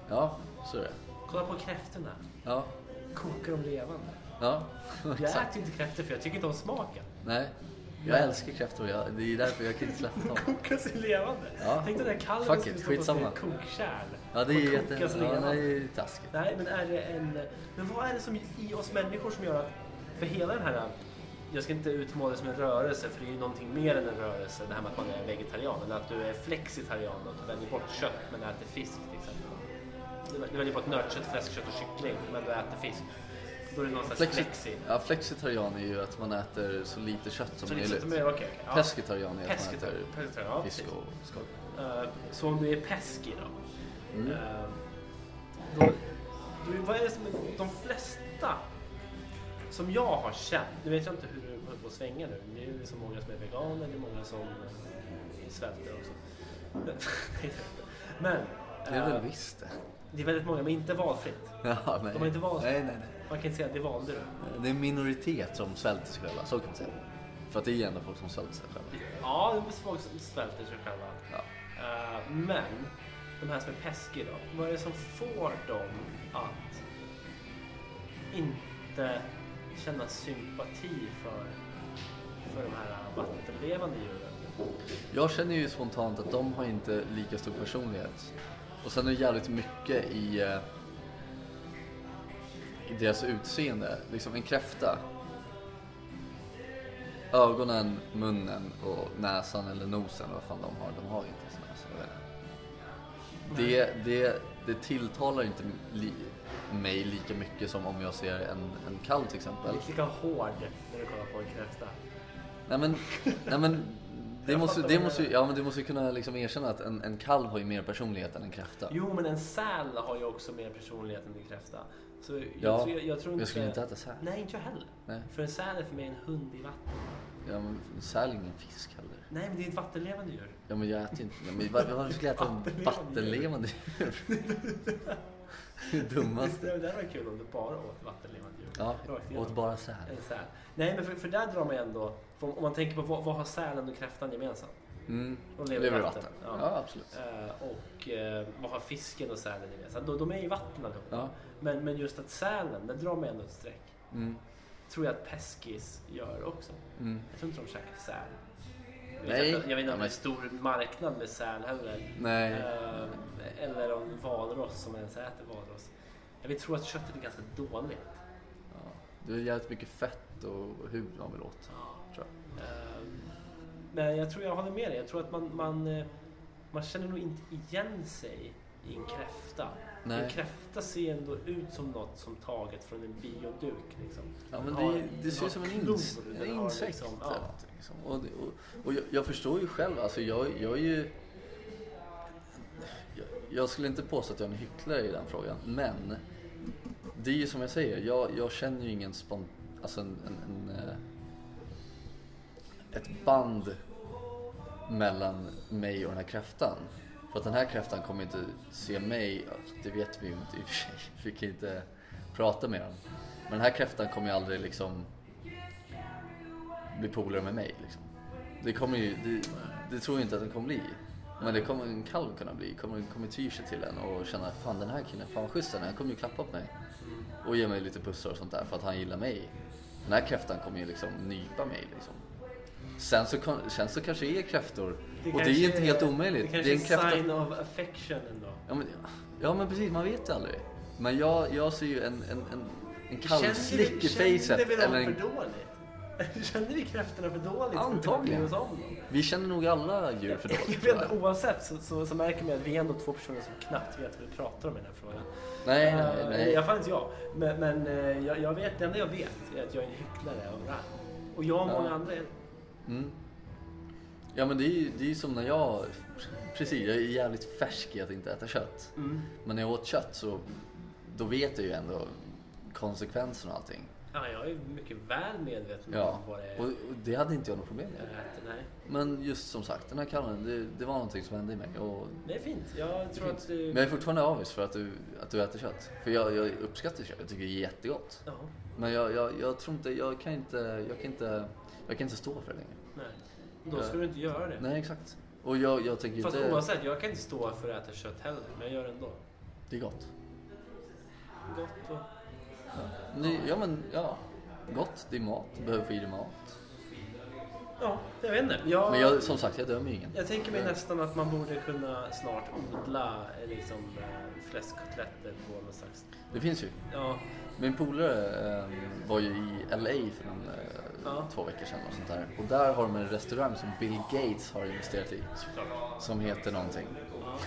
Speaker 2: Ja, så är det.
Speaker 1: Kolla på kräftorna.
Speaker 2: Ja,
Speaker 1: Kokar de levande?
Speaker 2: ja.
Speaker 1: Jag äter ju inte kräftor för jag tycker inte om smaken.
Speaker 2: Nej, jag älskar kräftor. Jag, det är därför jag kan inte släppa dem.
Speaker 1: Koka sig levande.
Speaker 2: Ja.
Speaker 1: Tänk dig den där kalven
Speaker 2: Fuck
Speaker 1: som
Speaker 2: it,
Speaker 1: skulle stoppas i
Speaker 2: skitsamma.
Speaker 1: ett kokkärl.
Speaker 2: Ja, det är
Speaker 1: och
Speaker 2: ju jätte...
Speaker 1: kokas
Speaker 2: Ja,
Speaker 1: levande.
Speaker 2: nej, det är taskigt.
Speaker 1: Nej, men är det en... Men vad är det som i oss människor som gör att... För hela den här... Jag ska inte utmåla det som en rörelse, för det är ju någonting mer än en rörelse. Det här med att man är vegetarian, eller att du är flexitarian och att du väljer bort kött men äter fisk till exempel. Du- Du väljer bort nötkött, fläskkött och kyckling men du äter fisk. Då är det någon slags
Speaker 2: Flexi-
Speaker 1: flexi.
Speaker 2: ja, flexitarian är ju att man äter så lite kött som
Speaker 1: Så liksom,
Speaker 2: möjligt.
Speaker 1: som är- okej, okej, ja.
Speaker 2: Pescetarian är att man
Speaker 1: Pescetarian.
Speaker 2: äter
Speaker 1: Pescetarian, ja,
Speaker 2: fisk
Speaker 1: precis.
Speaker 2: och skaldjur.
Speaker 1: Eh, Så om du är pesky då?
Speaker 2: Mm.
Speaker 1: eh, då du, vad är det som de flesta som jag har känt, nu vet jag inte hur du håller på att svänga nu, det är ju så många som är veganer, det är många som eh, svälter också. Men, nej, Men
Speaker 2: Det är
Speaker 1: eh,
Speaker 2: väl visst det.
Speaker 1: det är väldigt många, men inte valfritt.
Speaker 2: Ja, nej.
Speaker 1: De har inte valt.
Speaker 2: Nej, nej, nej.
Speaker 1: Man kan inte säga att det valde du.
Speaker 2: Det är en minoritet som svälter sig själva, så kan man säga. För att det är ändå folk som svälter sig själva.
Speaker 1: Ja, det är folk som svälter sig själva.
Speaker 2: Ja.
Speaker 1: Eh, men de här som är pesky då, vad är det som får dem att inte känna sympati för, för de här vattenlevande djuren?
Speaker 2: Jag känner ju spontant att de har inte lika stor personlighet. Och sen är det jävligt mycket i, eh, i deras utseende. Liksom en kräfta. Ögonen, munnen och näsan eller nosen, vad fan de har. De har ju inte ens näsa, jag vet inte. Det, det, det tilltalar inte li, mig lika mycket som om jag ser en, en kalv till
Speaker 1: Du är
Speaker 2: exempel.
Speaker 1: inte lika hård när du kollar på en kräfta.
Speaker 2: Nej men, nej men det,
Speaker 1: Jag
Speaker 2: måste,
Speaker 1: fattar
Speaker 2: det,
Speaker 1: vad du
Speaker 2: måste, ju-
Speaker 1: menar.
Speaker 2: ja, men det måste ju kunna liksom erkänna att en, en kalv har ju mer personlighet än en kräfta.
Speaker 1: Jo, men en säl har ju också mer personlighet än en kräfta. Så jag,
Speaker 2: Ja,
Speaker 1: tror, jag, jag tror inte...
Speaker 2: Jag skulle inte äta säl.
Speaker 1: Nej, inte jag heller.
Speaker 2: Nej.
Speaker 1: För en säl är för mig en hund i vatten.
Speaker 2: Ja, men säl är ingen fisk heller.
Speaker 1: Nej, men det är ett vattenlevande djur.
Speaker 2: Ja men jag äter ju inte, ja, men var- varför skulle jag äta en
Speaker 1: Vattenlevande
Speaker 2: vattenlevande djur? Det är det
Speaker 1: Visst,
Speaker 2: dummaste.
Speaker 1: det där var kul om du bara åt vattenlevande djur.
Speaker 2: Ja,
Speaker 1: Rakt igenom.
Speaker 2: åt bara säl.
Speaker 1: En säl. Nej, men för, för där drar man ju ändå... För om, om man tänker på vad, vad har sälen och kräftan gemensamt?
Speaker 2: Mm.
Speaker 1: De
Speaker 2: Lever i vatten.
Speaker 1: Ja.
Speaker 2: Ja, absolut.
Speaker 1: Eh, och eh, vad har fisken och sälen gemensamt? De, de är i vatten allihopa.
Speaker 2: Ja.
Speaker 1: Men, men just att sälen, där drar man ändå ett streck.
Speaker 2: Mm.
Speaker 1: Tror jag att peskis gör också.
Speaker 2: Mm.
Speaker 1: Jag tror inte de käkar säl. Jag vet
Speaker 2: Nej.
Speaker 1: inte- Jag vet inte
Speaker 2: Ja,
Speaker 1: om det är
Speaker 2: men-
Speaker 1: stor marknad med säl heller.
Speaker 2: Nej.
Speaker 1: Eh, eller om valros, som ens äter valros. Jag vill tro att köttet är ganska dåligt.
Speaker 2: Ja. Det är jävligt mycket fett och hud man vill åt. Tror jag.
Speaker 1: Ehm, Men jag tror jag håller med dig. Jag tror att man, man, eh, man känner nog inte igen sig i en kräfta.
Speaker 2: Nej.
Speaker 1: En kräfta ser ändå ut som något som taget från en bioduk. Liksom.
Speaker 2: Ja,
Speaker 1: Den
Speaker 2: men
Speaker 1: har-
Speaker 2: det, det
Speaker 1: den
Speaker 2: ser
Speaker 1: har
Speaker 2: ut som en,
Speaker 1: klor,
Speaker 2: ins
Speaker 1: den
Speaker 2: en
Speaker 1: har
Speaker 2: insekt. typ.
Speaker 1: liksom-
Speaker 2: eller
Speaker 1: ja.
Speaker 2: någonting, liksom. Och, det- och, och jag, jag förstår ju själv, alltså jag, jag är ju... jag skulle inte påstå att jag är en hycklare i den frågan, men det är ju som jag säger, jag, jag känner ju ingen spon... Alltså en, en, en, eh, ett band mellan mig och den här kräftan. För att den här kräftan kommer inte se mig, det vet vi ju inte i och för sig, vi kan inte prata med den. Men den här kräftan kommer ju aldrig liksom bli polare med mig. Liksom. Det kommer ju, det, det tror jag inte att den kommer bli. Men det kommer en kalv kunna bli, kommer, kommer ty sig till en och känna fan den här killen, fan vad schysst han är, han kommer ju klappa på mig. Och ge mig lite pussar och sånt där för att han gillar mig. Den här kräftan kommer ju liksom nypa mig liksom. Sen så, kan- sen så kanske det är kräftor och det är inte helt omöjligt.
Speaker 1: Det
Speaker 2: det är
Speaker 1: kanske
Speaker 2: en
Speaker 1: är
Speaker 2: kräfta-
Speaker 1: sign of affection ändå.
Speaker 2: Ja men, ja men precis, man vet ju aldrig. Men jag, jag ser ju en, en, en, en kalvslick i
Speaker 1: Kände
Speaker 2: facet.
Speaker 1: vi dem
Speaker 2: Eller
Speaker 1: för
Speaker 2: en,
Speaker 1: dåligt? Kände vi kräftorna för dåligt? för att vi
Speaker 2: Antagligen.
Speaker 1: bryr oss om dem?
Speaker 2: vi känner nog alla djur för
Speaker 1: Jag
Speaker 2: dåligt.
Speaker 1: vet
Speaker 2: tror
Speaker 1: inte,
Speaker 2: jag.
Speaker 1: oavsett så, så, så märker man att vi är ändå två personer som knappt vet vad vi pratar om i den här frågan.
Speaker 2: Nej, nej,
Speaker 1: Eh, I
Speaker 2: nej.
Speaker 1: alla fall inte jag. Men, men eh, jag, jag vet, det enda jag vet är att jag är en hycklare av rang. Och jag och
Speaker 2: Ja.
Speaker 1: många andra är...
Speaker 2: Mm. Ja men det är ju det är ju som när jag, precis jag är jävligt färsk i att inte äta kött.
Speaker 1: Mm.
Speaker 2: Men när jag åt kött så, då vet jag ju ändå konsekvenserna och allting.
Speaker 1: Ja, jag är mycket väl medveten om
Speaker 2: Ja,
Speaker 1: vad det är
Speaker 2: och, och det hade inte jag något problem
Speaker 1: jag
Speaker 2: med.
Speaker 1: äter. Nej.
Speaker 2: Men just som sagt, den här kalven, det, det var någonting som hände i mig. Och
Speaker 1: Det är fint. Jag tror att du...
Speaker 2: Men jag är fortfarande avis för att du, att du äter kött. För jag, jag uppskattar kött, jag tycker det är jättegott.
Speaker 1: Ja,
Speaker 2: Men jag, jag, jag tror inte, jag kan inte, jag kan inte, jag kan inte stå för det längre.
Speaker 1: nej. Då
Speaker 2: Ja.
Speaker 1: ska du inte göra det.
Speaker 2: Nej exakt. Och jag, jag tänker
Speaker 1: Fast
Speaker 2: inte,
Speaker 1: oavsett, jag kan inte stå för att äta kött heller, men jag gör det ändå.
Speaker 2: det är gott.
Speaker 1: Gott och...
Speaker 2: Men det- Ja men, ja. Gott, det är mat, du behöver få i dig mat.
Speaker 1: Ja, jag vet inte. Jag,
Speaker 2: Men
Speaker 1: jag...
Speaker 2: jag, som sagt, jag dömer ju ingen.
Speaker 1: tänker mig
Speaker 2: Nej.
Speaker 1: nästan att man borde kunna snart odla eh, liksom, eh, fläskkotletter på någon slags...
Speaker 2: Det finns ju.
Speaker 1: Ja,
Speaker 2: Min polare eh, var ju i LA för någon, eh,
Speaker 1: Ja.
Speaker 2: två veckor sedan och sånt där. Och där har de en restaurang som Bill Gates har investerat i.
Speaker 1: såklart.
Speaker 2: Som heter någonting.
Speaker 1: Ja.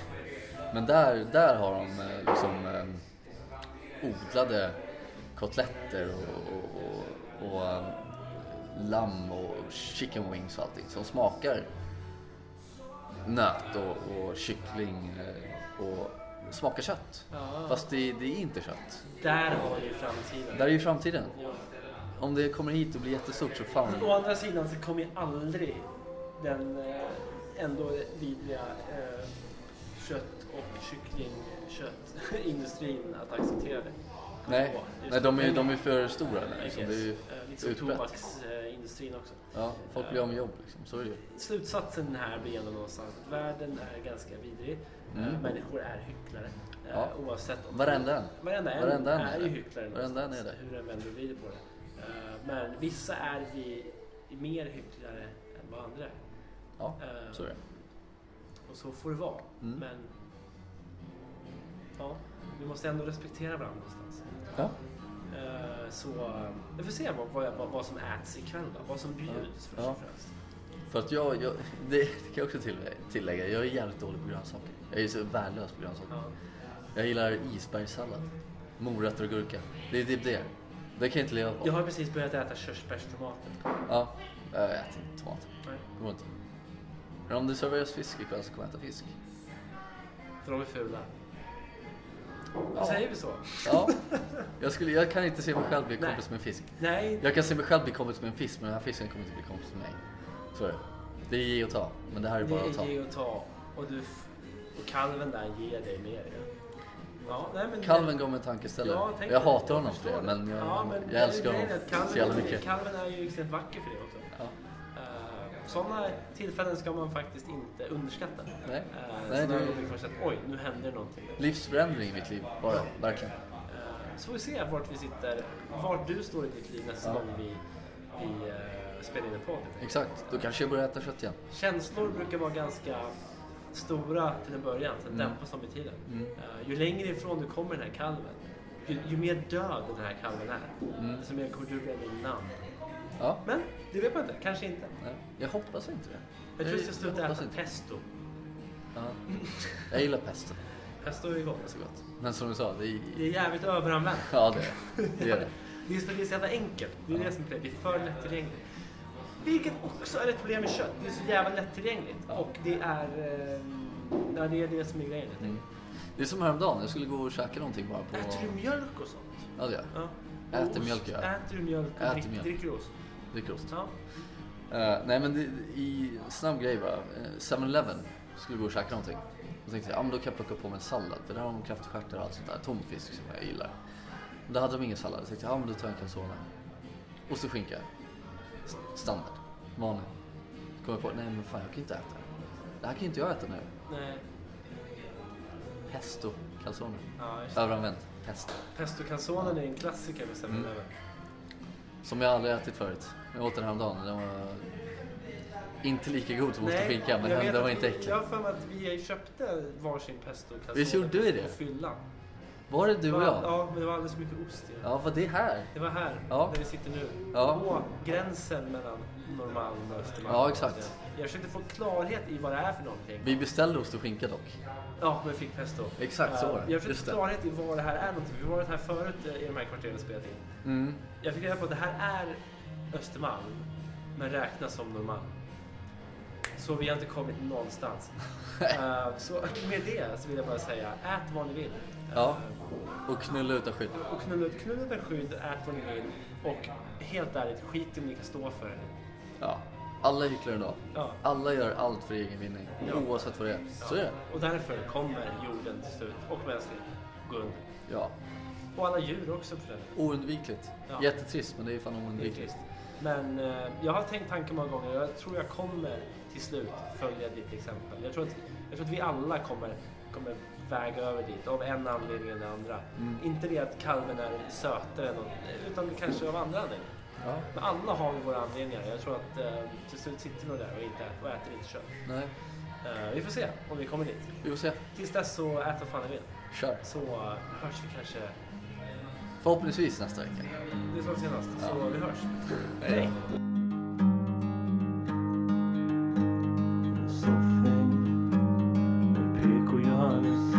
Speaker 2: Men där, där har de eh, liksom eh, odlade kotletter och, och, och, och eh, lamm och chicken wings och allting som smakar nöt och, och kyckling eh, och smakar kött.
Speaker 1: Ja.
Speaker 2: Fast det, det är inte kött.
Speaker 1: Där har vi framtiden.
Speaker 2: Där är ju framtiden.
Speaker 1: Ja.
Speaker 2: Om det kommer hit och blir jättestort så
Speaker 1: Men
Speaker 2: fan.
Speaker 1: Å andra sidan så kommer ju aldrig den eh, ändå vidriga eh, kött och kycklingköttindustrin att acceptera det.
Speaker 2: Nej, nej de, är, de är för stora nu. Liksom. Det är ju
Speaker 1: Lite som
Speaker 2: utbrett.
Speaker 1: tobaksindustrin också.
Speaker 2: ja, folk blir av med jobb liksom. Så är det ju.
Speaker 1: Slutsatsen här blir ändå någonstans att världen är ganska vidrig. Eh,
Speaker 2: Mm.
Speaker 1: Människor är hycklare. Eh,
Speaker 2: Ja.
Speaker 1: Oavsett om
Speaker 2: Varenda en.
Speaker 1: Varenda en,
Speaker 2: Varenda en
Speaker 1: är,
Speaker 2: är
Speaker 1: ju
Speaker 2: det.
Speaker 1: hycklare
Speaker 2: Varenda en
Speaker 1: någonstans,
Speaker 2: är det.
Speaker 1: hur den vänder och vrider på det. Eh, Men vissa är vi mer hycklare än vad andra är.
Speaker 2: Ja,
Speaker 1: Eh,
Speaker 2: så är det.
Speaker 1: Och så får det vara.
Speaker 2: Mm.
Speaker 1: Men ja, vi måste ändå respektera varandra någonstans.
Speaker 2: Ja.
Speaker 1: Eh, Så eh, vi får se vad, vad, vad, vad som äts ikväll då. Vad som bjuds först
Speaker 2: Ja.
Speaker 1: och främst.
Speaker 2: För att jag, jag det, det kan jag också till- tillägga, jag är jävligt dålig på grönsaker. Jag är så värdelös på grönsaker.
Speaker 1: Ja.
Speaker 2: Jag gillar isbergssallad, morötter och gurka. Det är typ det. Det kan jag inte leva på.
Speaker 1: Jag har precis börjat äta körsbärstomater.
Speaker 2: Ja, jag äter inte tomater.
Speaker 1: Nej,
Speaker 2: Det går inte. Men om det serveras fisk ikväll så kommer jag äta fisk.
Speaker 1: För de är fula.
Speaker 2: Ja.
Speaker 1: Säger vi så?
Speaker 2: Ja. Jag, skulle, jag kan inte se mig själv bli
Speaker 1: Nej.
Speaker 2: kompis med en fisk.
Speaker 1: Nej,
Speaker 2: Jag kan se mig själv bli kompis med en fisk, men den här fisken kommer inte bli kompis med mig. Så är det. Det är ge och ta, men det här är bara att ta.
Speaker 1: Det är ge och ta. Och, du, f- och kalven där ger dig mer. ju. Ja, nej, men
Speaker 2: Kalven gav mig en tankeställare.
Speaker 1: Ja, tänk
Speaker 2: jag
Speaker 1: det.
Speaker 2: hatar honom för
Speaker 1: förstår
Speaker 2: det, men jag,
Speaker 1: Ja, men
Speaker 2: jag älskar
Speaker 1: grejen är
Speaker 2: honom
Speaker 1: att kalven-
Speaker 2: så jävla mycket.
Speaker 1: Kalven är ju extremt vacker för det också.
Speaker 2: Ja.
Speaker 1: Eh, Sådana tillfällen ska man faktiskt inte underskatta.
Speaker 2: Nej.
Speaker 1: Uh,
Speaker 2: Nej,
Speaker 1: Nej,
Speaker 2: det-
Speaker 1: du... att, Oj, nu händer någonting.
Speaker 2: Livsförändring i mitt liv, bara. Verkligen.
Speaker 1: Eh, så får vi se vart vi sitter, vart du står i ditt liv nästa
Speaker 2: Ja.
Speaker 1: gång vi, vi eh, spelar in en podd.
Speaker 2: Exakt. Då kanske jag börjar äta kött igen.
Speaker 1: Känslor brukar vara ganska stora till en början, sen
Speaker 2: Mm.
Speaker 1: dämpas de med tiden.
Speaker 2: Mm.
Speaker 1: Eh, ju längre ifrån du kommer den här kalven, ju, ju mer död den här kalven är,
Speaker 2: Mm.
Speaker 1: desto mer kommer du bli innan.
Speaker 2: Ja.
Speaker 1: Men det vet man inte, kanske inte.
Speaker 2: Nej, jag hoppas inte det.
Speaker 1: Jag tror jag ska sluta
Speaker 2: hoppas
Speaker 1: äta
Speaker 2: inte.
Speaker 1: pesto.
Speaker 2: Ja. Jag gillar pesten.
Speaker 1: Pesto är
Speaker 2: Det är
Speaker 1: gott.
Speaker 2: så gott. Men som du sa, det är...
Speaker 1: Det är jävligt överanvänt.
Speaker 2: Ja, det är det. det. Är det.
Speaker 1: Det är så, det är så jävla enkelt. Det är det som är det. Det är för lättillgängligt. Vilket också är ett problem med kött. Det är så jävla lättillgängligt.
Speaker 2: Ja.
Speaker 1: Och det är... eh, Ja, det är det som är grejen. helt
Speaker 2: Mm.
Speaker 1: enkelt.
Speaker 2: Det är som häromdagen, jag skulle gå och käka någonting bara på...
Speaker 1: Äter du mjölk och sånt?
Speaker 2: Ja, det gör Mm. jag.
Speaker 1: Ja.
Speaker 2: Äter
Speaker 1: Ost.
Speaker 2: mjölk, ja.
Speaker 1: Äter du mjölk och
Speaker 2: Äter
Speaker 1: drick-
Speaker 2: mjölk.
Speaker 1: dricker ost?
Speaker 2: Det är klokt.
Speaker 1: Ja.
Speaker 2: Eh, nej men det, i snabb grej bara. Eh, 7-Eleven skulle gå och käka någonting. Och tänkte jag, ah, men då kan jag plocka på mig en sallad. För där har de kräftstjärtar och allt sånt där. Tonfisk som jag gillar. Men där hade de ingen sallad. Jag tänkte, ja ah, men då tar jag en calzone. Ost och skinka. S- Standard. Vanlig. Kommer på, nej men fan jag kan inte äta det. Det här kan ju inte jag äta nu.
Speaker 1: Nej.
Speaker 2: Pesto calzone.
Speaker 1: Ja, just det.
Speaker 2: Överanvänt. Pesto.
Speaker 1: Pesto canzonen är en klassiker med
Speaker 2: Mm.
Speaker 1: 7-Eleven.
Speaker 2: Som jag aldrig ätit förut. Jag åt den häromdagen. Den var inte lika god som ost och
Speaker 1: Nej,
Speaker 2: skinka. Men
Speaker 1: jag
Speaker 2: den,
Speaker 1: vet
Speaker 2: den var
Speaker 1: att
Speaker 2: inte
Speaker 1: vi-
Speaker 2: äcklig.
Speaker 1: Jag har för mig att vi köpte varsin pesto canzone.
Speaker 2: Visst gjorde vi det?
Speaker 1: På fyllan.
Speaker 2: Var det du och
Speaker 1: Det var-
Speaker 2: jag?
Speaker 1: Ja, men det var alldeles för mycket ost i den.
Speaker 2: Ja, var det här?
Speaker 1: Det var här,
Speaker 2: Ja.
Speaker 1: där vi sitter nu.
Speaker 2: Ja.
Speaker 1: På gränsen mellan Norrmalm och Östermalm.
Speaker 2: Ja, exakt.
Speaker 1: Jag försökte få klarhet i vad det är för någonting.
Speaker 2: Vi beställde ost och skinka dock.
Speaker 1: Ja, men fick pesto.
Speaker 2: Exakt så
Speaker 1: Eh,
Speaker 2: var det.
Speaker 1: Jag försökte
Speaker 2: Just
Speaker 1: få
Speaker 2: det.
Speaker 1: klarhet i vad det här är någonting. Vi har varit här förut eh, i de här kvarteren och spelat in.
Speaker 2: Mm.
Speaker 1: Jag fick reda på att det här är Östermalm, men räknas som Norrmalm. Så vi har inte kommit någonstans. Eh, så med det så vill jag bara säga, ät vad ni vill.
Speaker 2: Ja.
Speaker 1: Eh,
Speaker 2: Och knulla utan skydd.
Speaker 1: Och knulla ut knullet med skydd, ät vad ni vill. Och helt ärligt, skit i om ni kan stå för det.
Speaker 2: Ja. Alla hycklar idag.
Speaker 1: Ja.
Speaker 2: Alla gör allt för egen vinning.
Speaker 1: Ja.
Speaker 2: Oavsett vad det är. Så är det.
Speaker 1: Och därför kommer jorden till slut, och mänskligheten, gå under.
Speaker 2: Ja.
Speaker 1: Och alla djur också för den
Speaker 2: Oundvikligt.
Speaker 1: Ja.
Speaker 2: Jättetrist, men det är fan
Speaker 1: Det är
Speaker 2: oundvikligt.
Speaker 1: trist. Men eh, jag har tänkt tanken många gånger och jag tror jag kommer till slut följa ditt exempel. Jag tror att, jag tror att vi alla kommer, kommer väga över dit av en anledning eller andra.
Speaker 2: Mm.
Speaker 1: Inte det att kalven är sötare än någon, utan kanske av andra anledningar.
Speaker 2: Ja.
Speaker 1: Men alla har vi våra anledningar. Jag tror att eh, till slut sitter vi nog där och, inte, och äter inte kött.
Speaker 2: Nej.
Speaker 1: Eh, vi får se om vi kommer dit.
Speaker 2: Vi får se.
Speaker 1: Tills dess så ät vad fan ni vill.
Speaker 2: Kör.
Speaker 1: Så eh, hörs vi kanske,
Speaker 2: Förhoppningsvis nästa vecka.
Speaker 1: det är som senast,
Speaker 2: Ja.
Speaker 1: så vi hörs.
Speaker 2: Hej.
Speaker 1: Hej.
Speaker 3: Soffhäng med PK Johannes.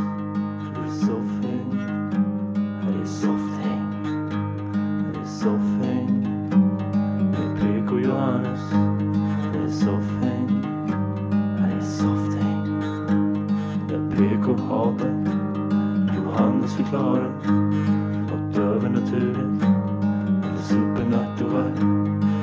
Speaker 3: Det är soffhäng. Det är soffhäng. Det är soffhäng med PK Johannes. Det är soffhäng. Det är soffhäng. Där PK hatar. Johannes förklarar. Något övernaturligt eller supernatural.